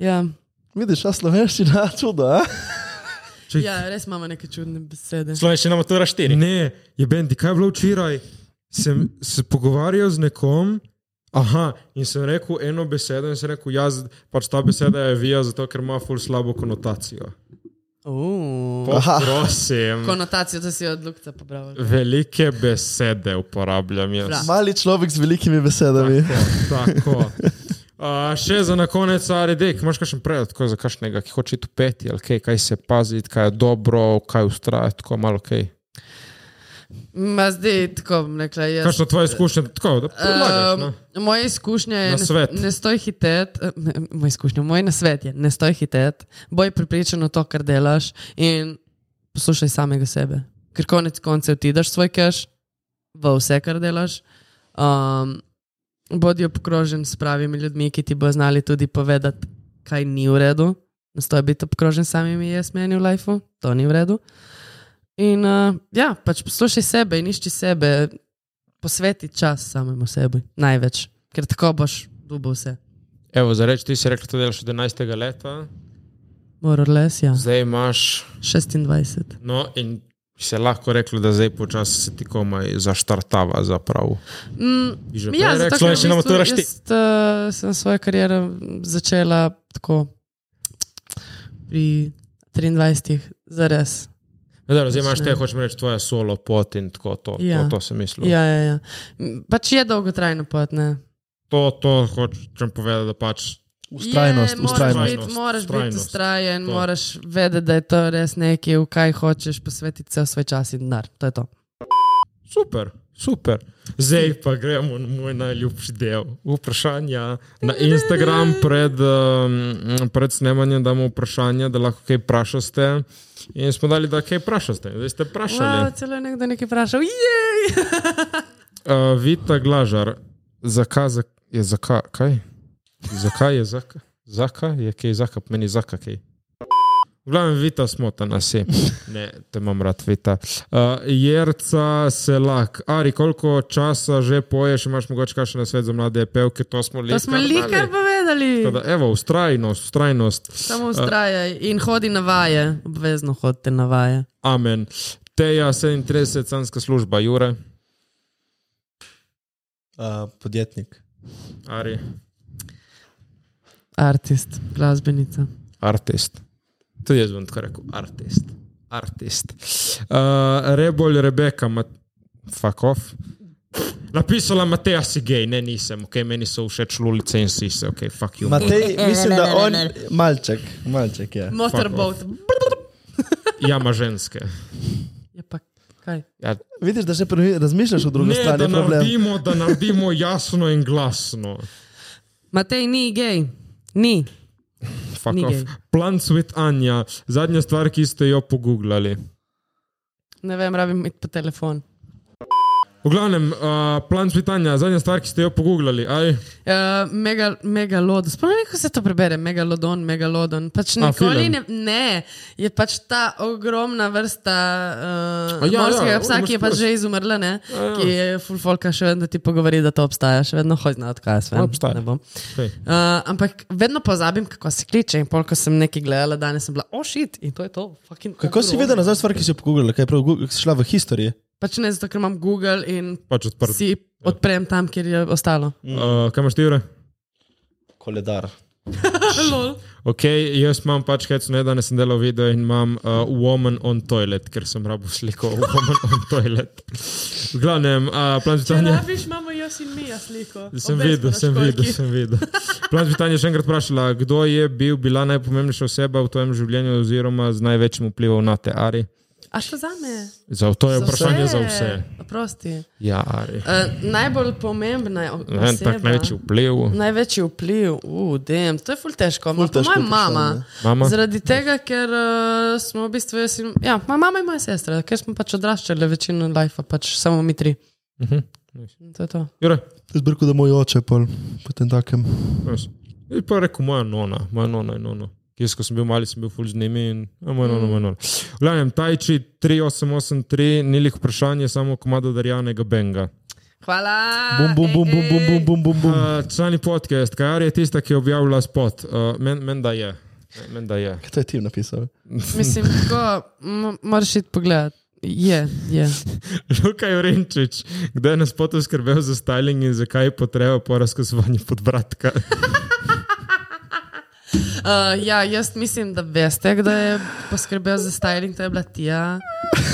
Ja.
Vidiš, a slovenščina, čudo, a?
Ja, res imamo neke čudne besede.
Slovenščina matura 4.
Ne, je bendi, kaj je bilo včeraj? Sem se pogovarjal z nekom. Aha, in sem rekel eno besedo, in sem rekel, jaz pač ta beseda je vija, zato ker ima ful slabo konotacijo.
Uh.
Pa, prosim,
Konotacijo, da si jo od Lukca pobral.
velike besede uporabljam jaz.
Bra.
Mali človek z velikimi besedami.
Tako. Uh, še za na konec, ali dek, imaš kakšen predlog tako za kakšnega, ki hoče tu peti, ali kaj, kaj se paziti, kaj je dobro, kaj ustrajati, tako malo kaj.
Ma zdaj tako bom rekla. Jaz,
Kakšno tvoje izkušnje, tako da predlagaš, no?
Ehm, moja izkušnja je,
Nasvet.
ne, ne stoj hitet, eh, ne, moja izkušnja, moj nasvet je, ne stoj hitet, boj pripričan v to, kar delaš in poslušaj samega sebe. Ker konec koncev ti daš svoj keš v vse, kar delaš. Um, bodi obkrožen s pravimi ljudmi, ki ti bo znali tudi povedati, kaj ni v redu. Ne stoj biti obkrožen s samimi jaz meni v lifeu, to ni v redu. In uh, ja, pač poslušaj sebe in išči sebe, posveti čas samemu sebi, največ, ker tako boš dubo vse.
Evo, za reči, ti si rekel, da delaš od 11. leta,
Moral les, ja.
zdaj imaš,
26.
no in se lahko reklo, da zdaj počasi se ti komaj zaštartava za prav.
Mm,
Bi že
ja,
prej
zato,
rekla,
ker
še na
v bistvu
motoraš ti.
Jaz uh, sem svojo kariero začela tako pri 23, zares.
Ja, dobro, Zdaj imaš
Točno.
te, hočem reči, tvoje solo pot in tako to,
Ja.
to, to sem mislil.
Ja, ja, ja. M, Pač je dolgotrajno pot, ne.
To, to hočem povedati, da pač
Ustrajnost,
je,
ustrajnost.
Moraš biti, moraš biti
Ustrajnost.
ustrajen,
To.
moraš vedeti, da je to res nekaj, v kaj hočeš posvetiti vse svoj čas in denar. To je to.
Super, super. Zdaj pa gremo na moj najljubši del. Vprašanja na Instagram pred, um, pred snemanjem damo vprašanja, da lahko kaj vprašate. In smo dali, da kaj vprašate. Zdaj ste vprašali.
Wow, celo je nekdo nekaj vprašal. Jej!
Uh, Vita Glažar, zakaj za, je zakaj? Kaj? Zakaj je zakaj? Zakaj je kaj zakaj? Meni zakaj kaj. V glavnem, Vita smo ta nas je. Ne, te imam rad, Vita. Uh, Jerca se lak. Ari, koliko časa že poješ, imaš mogoče kakšen svet za mlade pevke, to smo
To
lepo.
smo likar povedali.
Da, evo, ustrajnost, ustrajnost.
Samo ustrajaj in hodi na vaje, obvezno hodite na vaje.
Amen. Teja 37, sanska služba, Jure,
Uh, podjetnik.
Ari,
Artist, glasbenica.
Artist. Tudi jaz bom tako rekel, artist. Eh, Artist. Uh, Rebol, Rebeka, mat... fuck off. Napisala Mateja si gej, ne nisem, ok, meni so všeč lulice in sise, ok, fuck you.
Matej, mislim, da on. Malček, malček je.
Motorboat.
Jama Ja, ženske.
Je pa kaj?
Ja,
Vidiš, da že prvi- razmišljaš o drugi
ne,
strani.
da
je problem.
naredimo, da naredimo jasno in glasno.
Matej ni gej, ni.
Fuck
Ni
off.
gej.
Plants with Anja, zadnja stvar, ki ste jo pogooglali.
Ne vem, rabim iti po telefon.
V glavnem, uh, Plants with Anja, zadnja stvar, ki ste jo pogooglali. Aj,
Uh, mega, megalodon. Spomnim, kako se to prebere, megalodon, megalodon. Pač
A,
nikoli
film.
ne, ne, je pač ta ogromna vrsta
A
uh,
ja,
ja, morskega
ja,
ja, psa,
o,
ki je pač
moški-
že izumrla, ne,
ja.
ja. ki je full folka še vedno ti pogovori, da to obstaja, še vedno hojna odkaz. Vem,
Obstaja.
ne bom.
Sej.
Uh, ampak vedno pozabim, kako se kliče. In pol, ko sem nekaj gledala, danes sem bila, ošit, oh, shit," in to je to. fucking
Kako si
ogromno.
vedela nazaj stvar, ki si jo pogooglala, kaj je prav, Google- si šla v historiji?
Pač ne, zato ker imam Google in
pač odprt.
si odprem tam, kjer je ostalo.
Uh, kaj imaš ti, Jure?
Koledar.
Ok, jaz imam pač hecno, da ne sem delal video in imam uh, Woman on Toilet, ker sem rabo sliko Woman on Toilet. V glavnem, uh, Plants with Anja.
rabiš, ja, imamo jaz in mi sliko.
Sem videl, sem videl, sem videl. Plan Britanije je še enkrat vprašala, kdo je bil, bila najpomembnejša oseba v tvojem življenju oziroma z največjim vplivom na te, Ari?
A še za me?
Za, to je vprašanje za vse.
Prosti.
Ja, Ari.
Uh, najbolj pomembna je
Ne vem, tak največji vpliv.
Največji vpliv, udem, to je ful težko. Ful
težko
težko moja mama.
vprašanje.
Mama?
Zaradi tega, ker uh, smo v bistvu, jaz in, ja, moja mama in moja sestra, ker smo pač odraščali večino life, pač samo mi tri.
Mhm.
In To je to.
Jure,
Zbrko, da moj oče pol, potem takem.
res. Jaz pa rekel moja nona, moja nona je nona. Jaz, ko sem bil mali, sem bil ful z njimi in a, moja nona, moja nona. V glavnem, Tajči 3883, nilih vprašanje, samo komado darjanega benga.
Hvala.
Bum, bum, bum, bum, bum, bum, bum, bum, bum.
Uh, člani podcast, Kajar je tista, ki je objavila spot. Uh, Menda men da je. Men da je.
Kaj to je ti napisal?
Mislim, tako, m- moraš iti pogledat. Je, je.
Luka Jurenčič, kdo je na spotu skrbel za styling in zakaj je potreba po razkosovanju podbradka?
Uh, ja, jaz mislim, da veste, kdo je poskrbel za styling, to je bila Tija,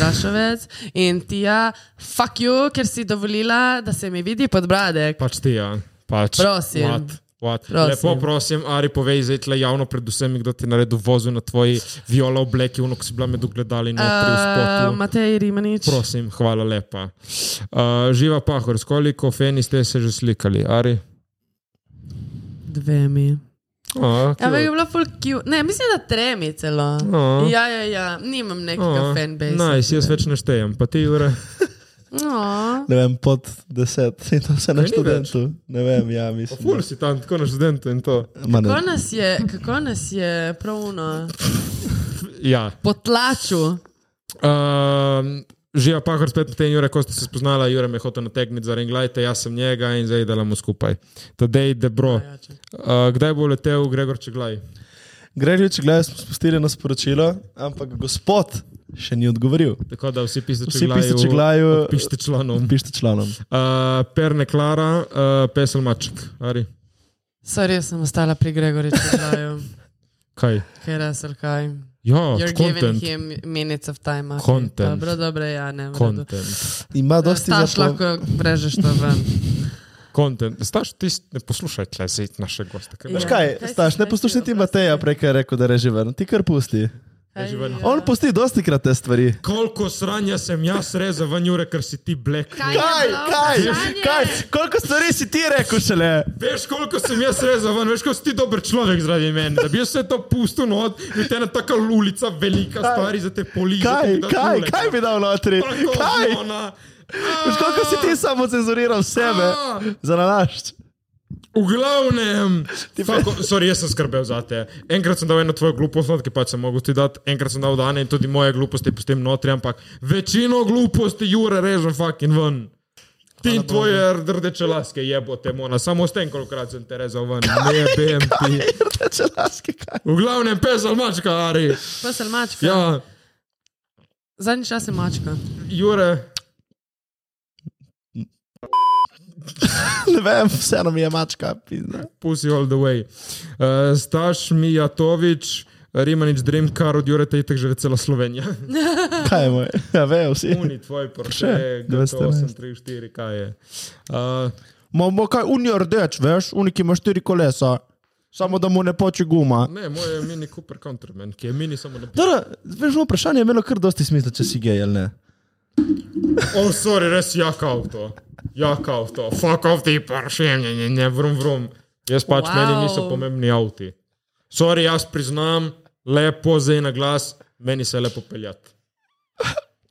Dašovec. In Tija, fuck you, ker si dovolila, da se mi vidi podbradek.
Pač ti, ja. Pač.
Prosim.
What? What?
Prosim.
Lepo prosim, Ari, povej zdaj tle javno, predvsem, kdo ti je naredil vozu na tvoji viola obleki, uno, ki si bila med ogledali in notri v
Uh,
spotu.
Matej Rimanič,
Prosim, hvala lepa. Uh, živa pahor, s koliko feni ste se že slikali, Ari?
dvemi.
Oh,
Ja, ampak je bilo full cute. Ne, mislim, da tremi celo.
A.
Ja, ja, ja, nimam nekega fanbase.
No. Nice, jaz več ne štejem, pa ti, Jure.
No,
Ne vem, pod deset in to se
Kaj ni
na
več?
študentu. Ne vem, ja, mislim.
Ful si tam, tako na študentu in to.
Ma ne.
kako nas je, kako nas je pravno
Ja.
potlačil.
Um, Živa Pahor spet potem, Jure, ko ste se spoznala, Jure me je hotel nategniti za Renglajte, jaz sem njega in zdaj delamo skupaj. Tadej,
Ja,
debro. Uh, kdaj bo letel Gregor Čeglaj?
Gregorič, gledaj, smo spustili na sporočilo, ampak gospod še ni odgovoril.
Tako da vsi pišete
Vsi pišite Čeglaju,
Pišite članom.
pišite članom.
Uh, Perne Klara, uh, pesel Maček. Ari,
Sorry, sem ostala pri Gregoriču,
kaj?
kaj resel kaj.
Ja,
You're giving
content.
him minutes of time. okay.
Content.
Dobro, dobro, ja, ne. v redu.
Content.
Ima dosti
Staš
za po-
lahko brežeš to ven.
Content. Staš, ti ne poslušaj tle, zdaj naše goste. kaj
Ja.
me-
Veš kaj,
Kaj si
Staš, ne
zdaj
poslušaj ti
ti
Mateja,
oprosti?
prej kaj je rekel, da reži ven. Ti kar pusti.
Kaj
že ven.
je?
On pusti dosti krat te stvari.
Koliko sranja sem jaz rezal, van Jure, ker si ti blek.
Kaj?
Kaj,
bilo
kaj,
vprašanje?
kaj, koliko stvari si ti rekel šele?
Veš, koliko sem jaz rezal, ven, veš, kako si ti dober človek zaradi mene. Da bi jaz vse to pustil not, mi te ena taka lulica, velika
Kaj?
stvar za te police.
Kaj, kaj, kaj bi dal notri? Kaj? Veš, koliko si ti samo cenzuriral sebe
A.
za nalašč?
Ah, V glavnem, fako, sorry, jaz sem skrbel za te. Enkrat sem dal eno tvojo glupost, not, ki pač sem mogel ti dati, enkrat sem dal dane in tudi moje gluposti pustim notri, ampak večino gluposti Jure režem fucking ven. Ti in tvoje rdeče laske jebote, mona, samo s tem, kolikrat sem te rezal ven. Ne, BMT. Kaj?
Če laske, kaj?
V glavnem, pes ali mačka, Ari.
Pesel mačka.
Ja,
Zadnji čas je mačka.
Jure,
Ne vem, vseeno mi je mačka. pizda.
Eh, pussy all the way. Uh, Staš Mijatovič, Rimanič Dream Car od Jureta itek že ve cela Slovenija.
Kaj je moj? Ja, vejo vsi.
Puni tvoj Porsche,
Še,
GT8, 3, 4, kaj je. Uh,
Ma, ma kaj unijo rdeč, veš, uniki ima štiri kolesa, samo da mu ne poči guma.
ne, moj je mini Cooper Counterman, ki je mini samo na
Dobro, veš, moje vprašanje je imelo kar dosti smisla, če si gej ali ne.
Oh, sorry, res jak avto. Jak avto. Fuck off ti Porsche, ne, ne, ne, vrum, vrum. Jaz pač wow.
Wow.
meni niso pomembni avti. Sorry, jaz priznam, lepo zdaj na glas, meni se je lepo peljati.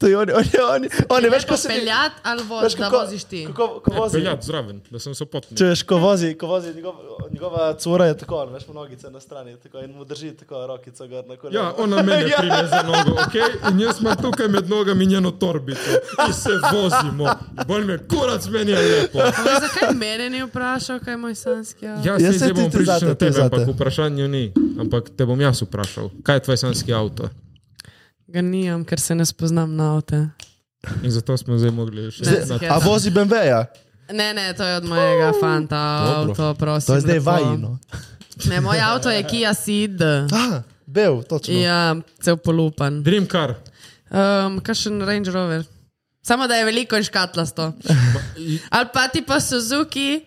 To je oni, oni, oni, oni veš, ko se mi-
Peljati ali voz,
veš,
da voziš ti.
Kako, ko vozi,
Peljati zraven, da sem sopotnik.
če veš, ko vozi, ko vozi njegov, njegova cura je tako, veš, po nogice na strani tako, in mu drži tako rokico gor na kolenu.
Ja, ona mene ja. prime za nogo, ok? In jaz imam tukaj med nogami njeno torbico in se vozimo. Bolj me kurac, meni je lepo.
Ampak Zakaj mene ni vprašal, kaj je moj sanski avto?
Ja, jaz
Jaz
se
se
zdaj bom
tudi
prišel
zate,
na
tudi
tebe,
zate.
ampak vprašanje ni. Ampak te bom jaz vprašal, kaj je tvoj sanski avto?
Ga nijam, ker se ne spoznam na avto.
In zato smo zdaj mogli še
Zdaj-
na
A vozi BMW-ja.
Ne, ne, to je od mojega fanta, avto, prosim.
To je zdaj no.
lepo.
vajino.
Ne, moj avto je Kia Ceed.
Ah, bel, točno.
Ja, cel polupan.
Dream car.
Um, kakšen Range Rover. Samo da je veliko in škatlasto. Ali pa ti pa Suzuki,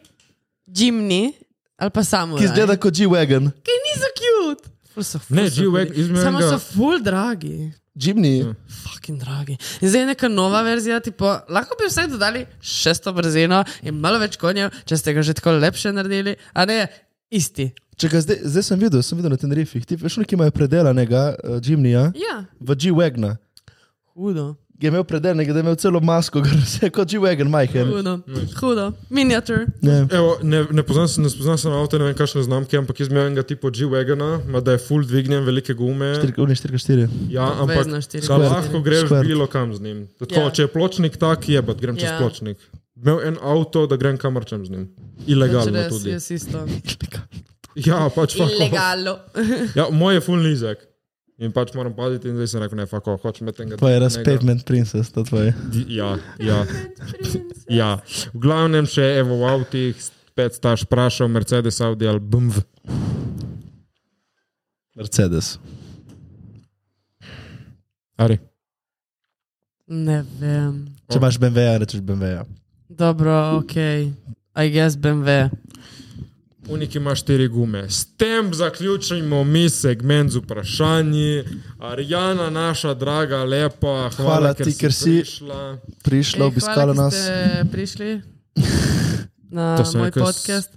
Jimny, ali pa samo.
Ki izgleda kot G-Wagon.
Ki niso cute. Ful so- ful
Ne,
so
G-Wagon,
hudi.
izmed
Samo
enega-
so full dragi.
Jimny.
Fucking dragi. In zdaj je neka nova verzija, tipo, lahko bi vsaj dodali šesto brzino in malo več konjev, če ste ga že tako lepše naredili, a ne isti.
Čekaj, zdaj, zdaj sem videl, sem videl na Tenerifih. Ti veš, neki imajo predelanega uh, Jimnyja
Ja,
v G-Wagna.
hudo.
Je imel predelanega, da je imel celo masko, gor, vse kot G-Wagon, majhen.
Hudo, hudo, miniatur.
Ne.
Evo, ne, ne poznam se, ne spoznam se na avto, ne vem kakšne znamke, ampak jaz imam enega tipa G-Wagona, ima da je full dvignjen, velike gume.
Uni 4x4.
Ja, ampak
Obvezno štiri
ga
krat.
lahko greš
Škvert.
bilo kam z njim. Tako,
Ja.
Če je pločnik tak, je, pa grem čez
Ja.
pločnik. Imel en avto, da grem kamor čem z njim. Ilegalno
Res,
tudi.
Torej, jaz isto.
Ja, pač fuck off.
Ilegalno.
Ja, moj je full nizek. In pač moram paziti, in zdaj sem rekel, ne, fako, hočem imeti enega.
To je res
drobnega.
Pavement Princess, to tvoje.
Di- Ja, ja. ja. V glavnem še evo v avtih, spet staš vprašal, Mercedes, Audi ali BMW.
Mercedes.
Ari.
Ne vem.
Če imaš BMW-ja, rečeš BMW-ja.
Dobro, ok. I guess BMW.
Unik ima štiri gume. S tem zaključujemo mi segment z vprašanji. Arijana, naša draga, lepa, hvala,
Hvala ti, ker si-
prišla.
Prišla,
Ej,
obiskala
hvala, ki
nas.
ste Prišli na
To sem
moj
rekel s-
podcast.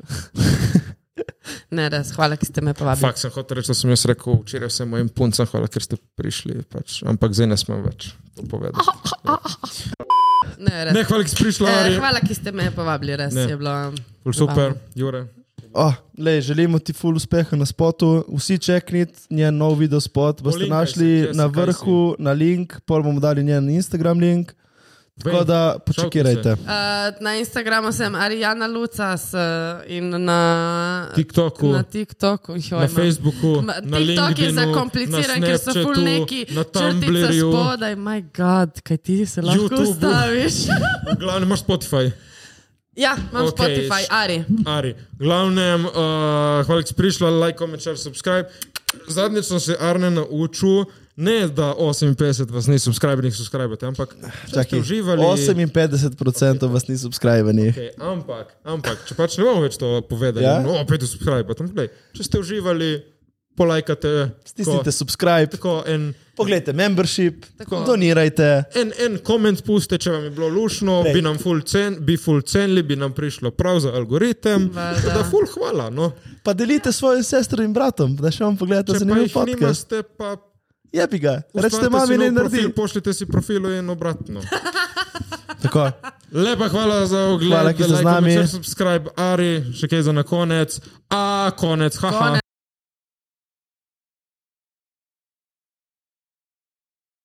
ne, res, hvala, ki ste me povabili.
Fak sem hotel reči, da sem jaz rekel včeraj vsem mojim puncem, hvala, ker ste prišli, pač. ampak zdaj ne smem več to povedati.
Ne, res.
Ne, hvala, ker si prišla, Ari.
Eh, hvala, ki ste me povabili, res
Ne.
ne. je bilo. Eh,
Ful Super, Jure.
Oh, lej, želimo ti full uspeha na spotu. Vsi čeknite njen nov video spot. Boste
Polinkaj se,
našli
Jessica,
na
kaj
vrhu, na link, pol bomo dali njen Instagram link. Tako
Vej,
da počakirajte.
Uh, na Instagramu sem Arijana Lucas eh, in na
TikToku.
Na TikToku jih
Na
imam.
Facebooku,
Ma,
na
TikTok je
LinkedInu,
zakompliciran,
na
ker so ful
Snapchatu,
neki
na
črtice
Tumblrju.
spodaj. Moj god, kaj ti se lahko
YouTubeu.
ustaviš?
V glavnem imaš Spotify.
ja, imam
Okej,
okay, Spotify,
š-
Ari.
Ari, v glavnem, uh, hvala, da si prišla, like, comment, share, subscribe. Zadnjič sem se Arne naučil, ne da 58 vas ni subscribernih, subskrbate, ampak če ste
Čakaj,
uživali.
58% vas ni subskrbeni.
Okay, ampak, ampak, če pač ne bomo več to povedali, ja?
Ja?
no, opet subscribe, tam gledaj. Če ste uživali, polajkate,
Stisnite subscribe,
tako en.
pogledajte membership,
Tako.
donirajte.
En, en koment puste, če vam je bilo lušno,
Lej.
bi nam ful, cen, bi ful cenili, bi nam prišlo prav za algoritem.
Valjda.
Tako Da, ful, hvala. No.
Pa delite svojim sestrom in bratom, da še vam pogledate
Če pa
zanimiv
jih
podcast.
nimate, pa
Je bi ga,
Ustvarite
rečete
si
mami,
nov
ne
Profil,
naredi.
pošljite si profilu in obratno.
Tako.
Lepa hvala za ogled.
Hvala, ki ste z
like,
nami.
komentar, Subscribe, Ari, še kaj za na konec. A, konec, haha.
Konec.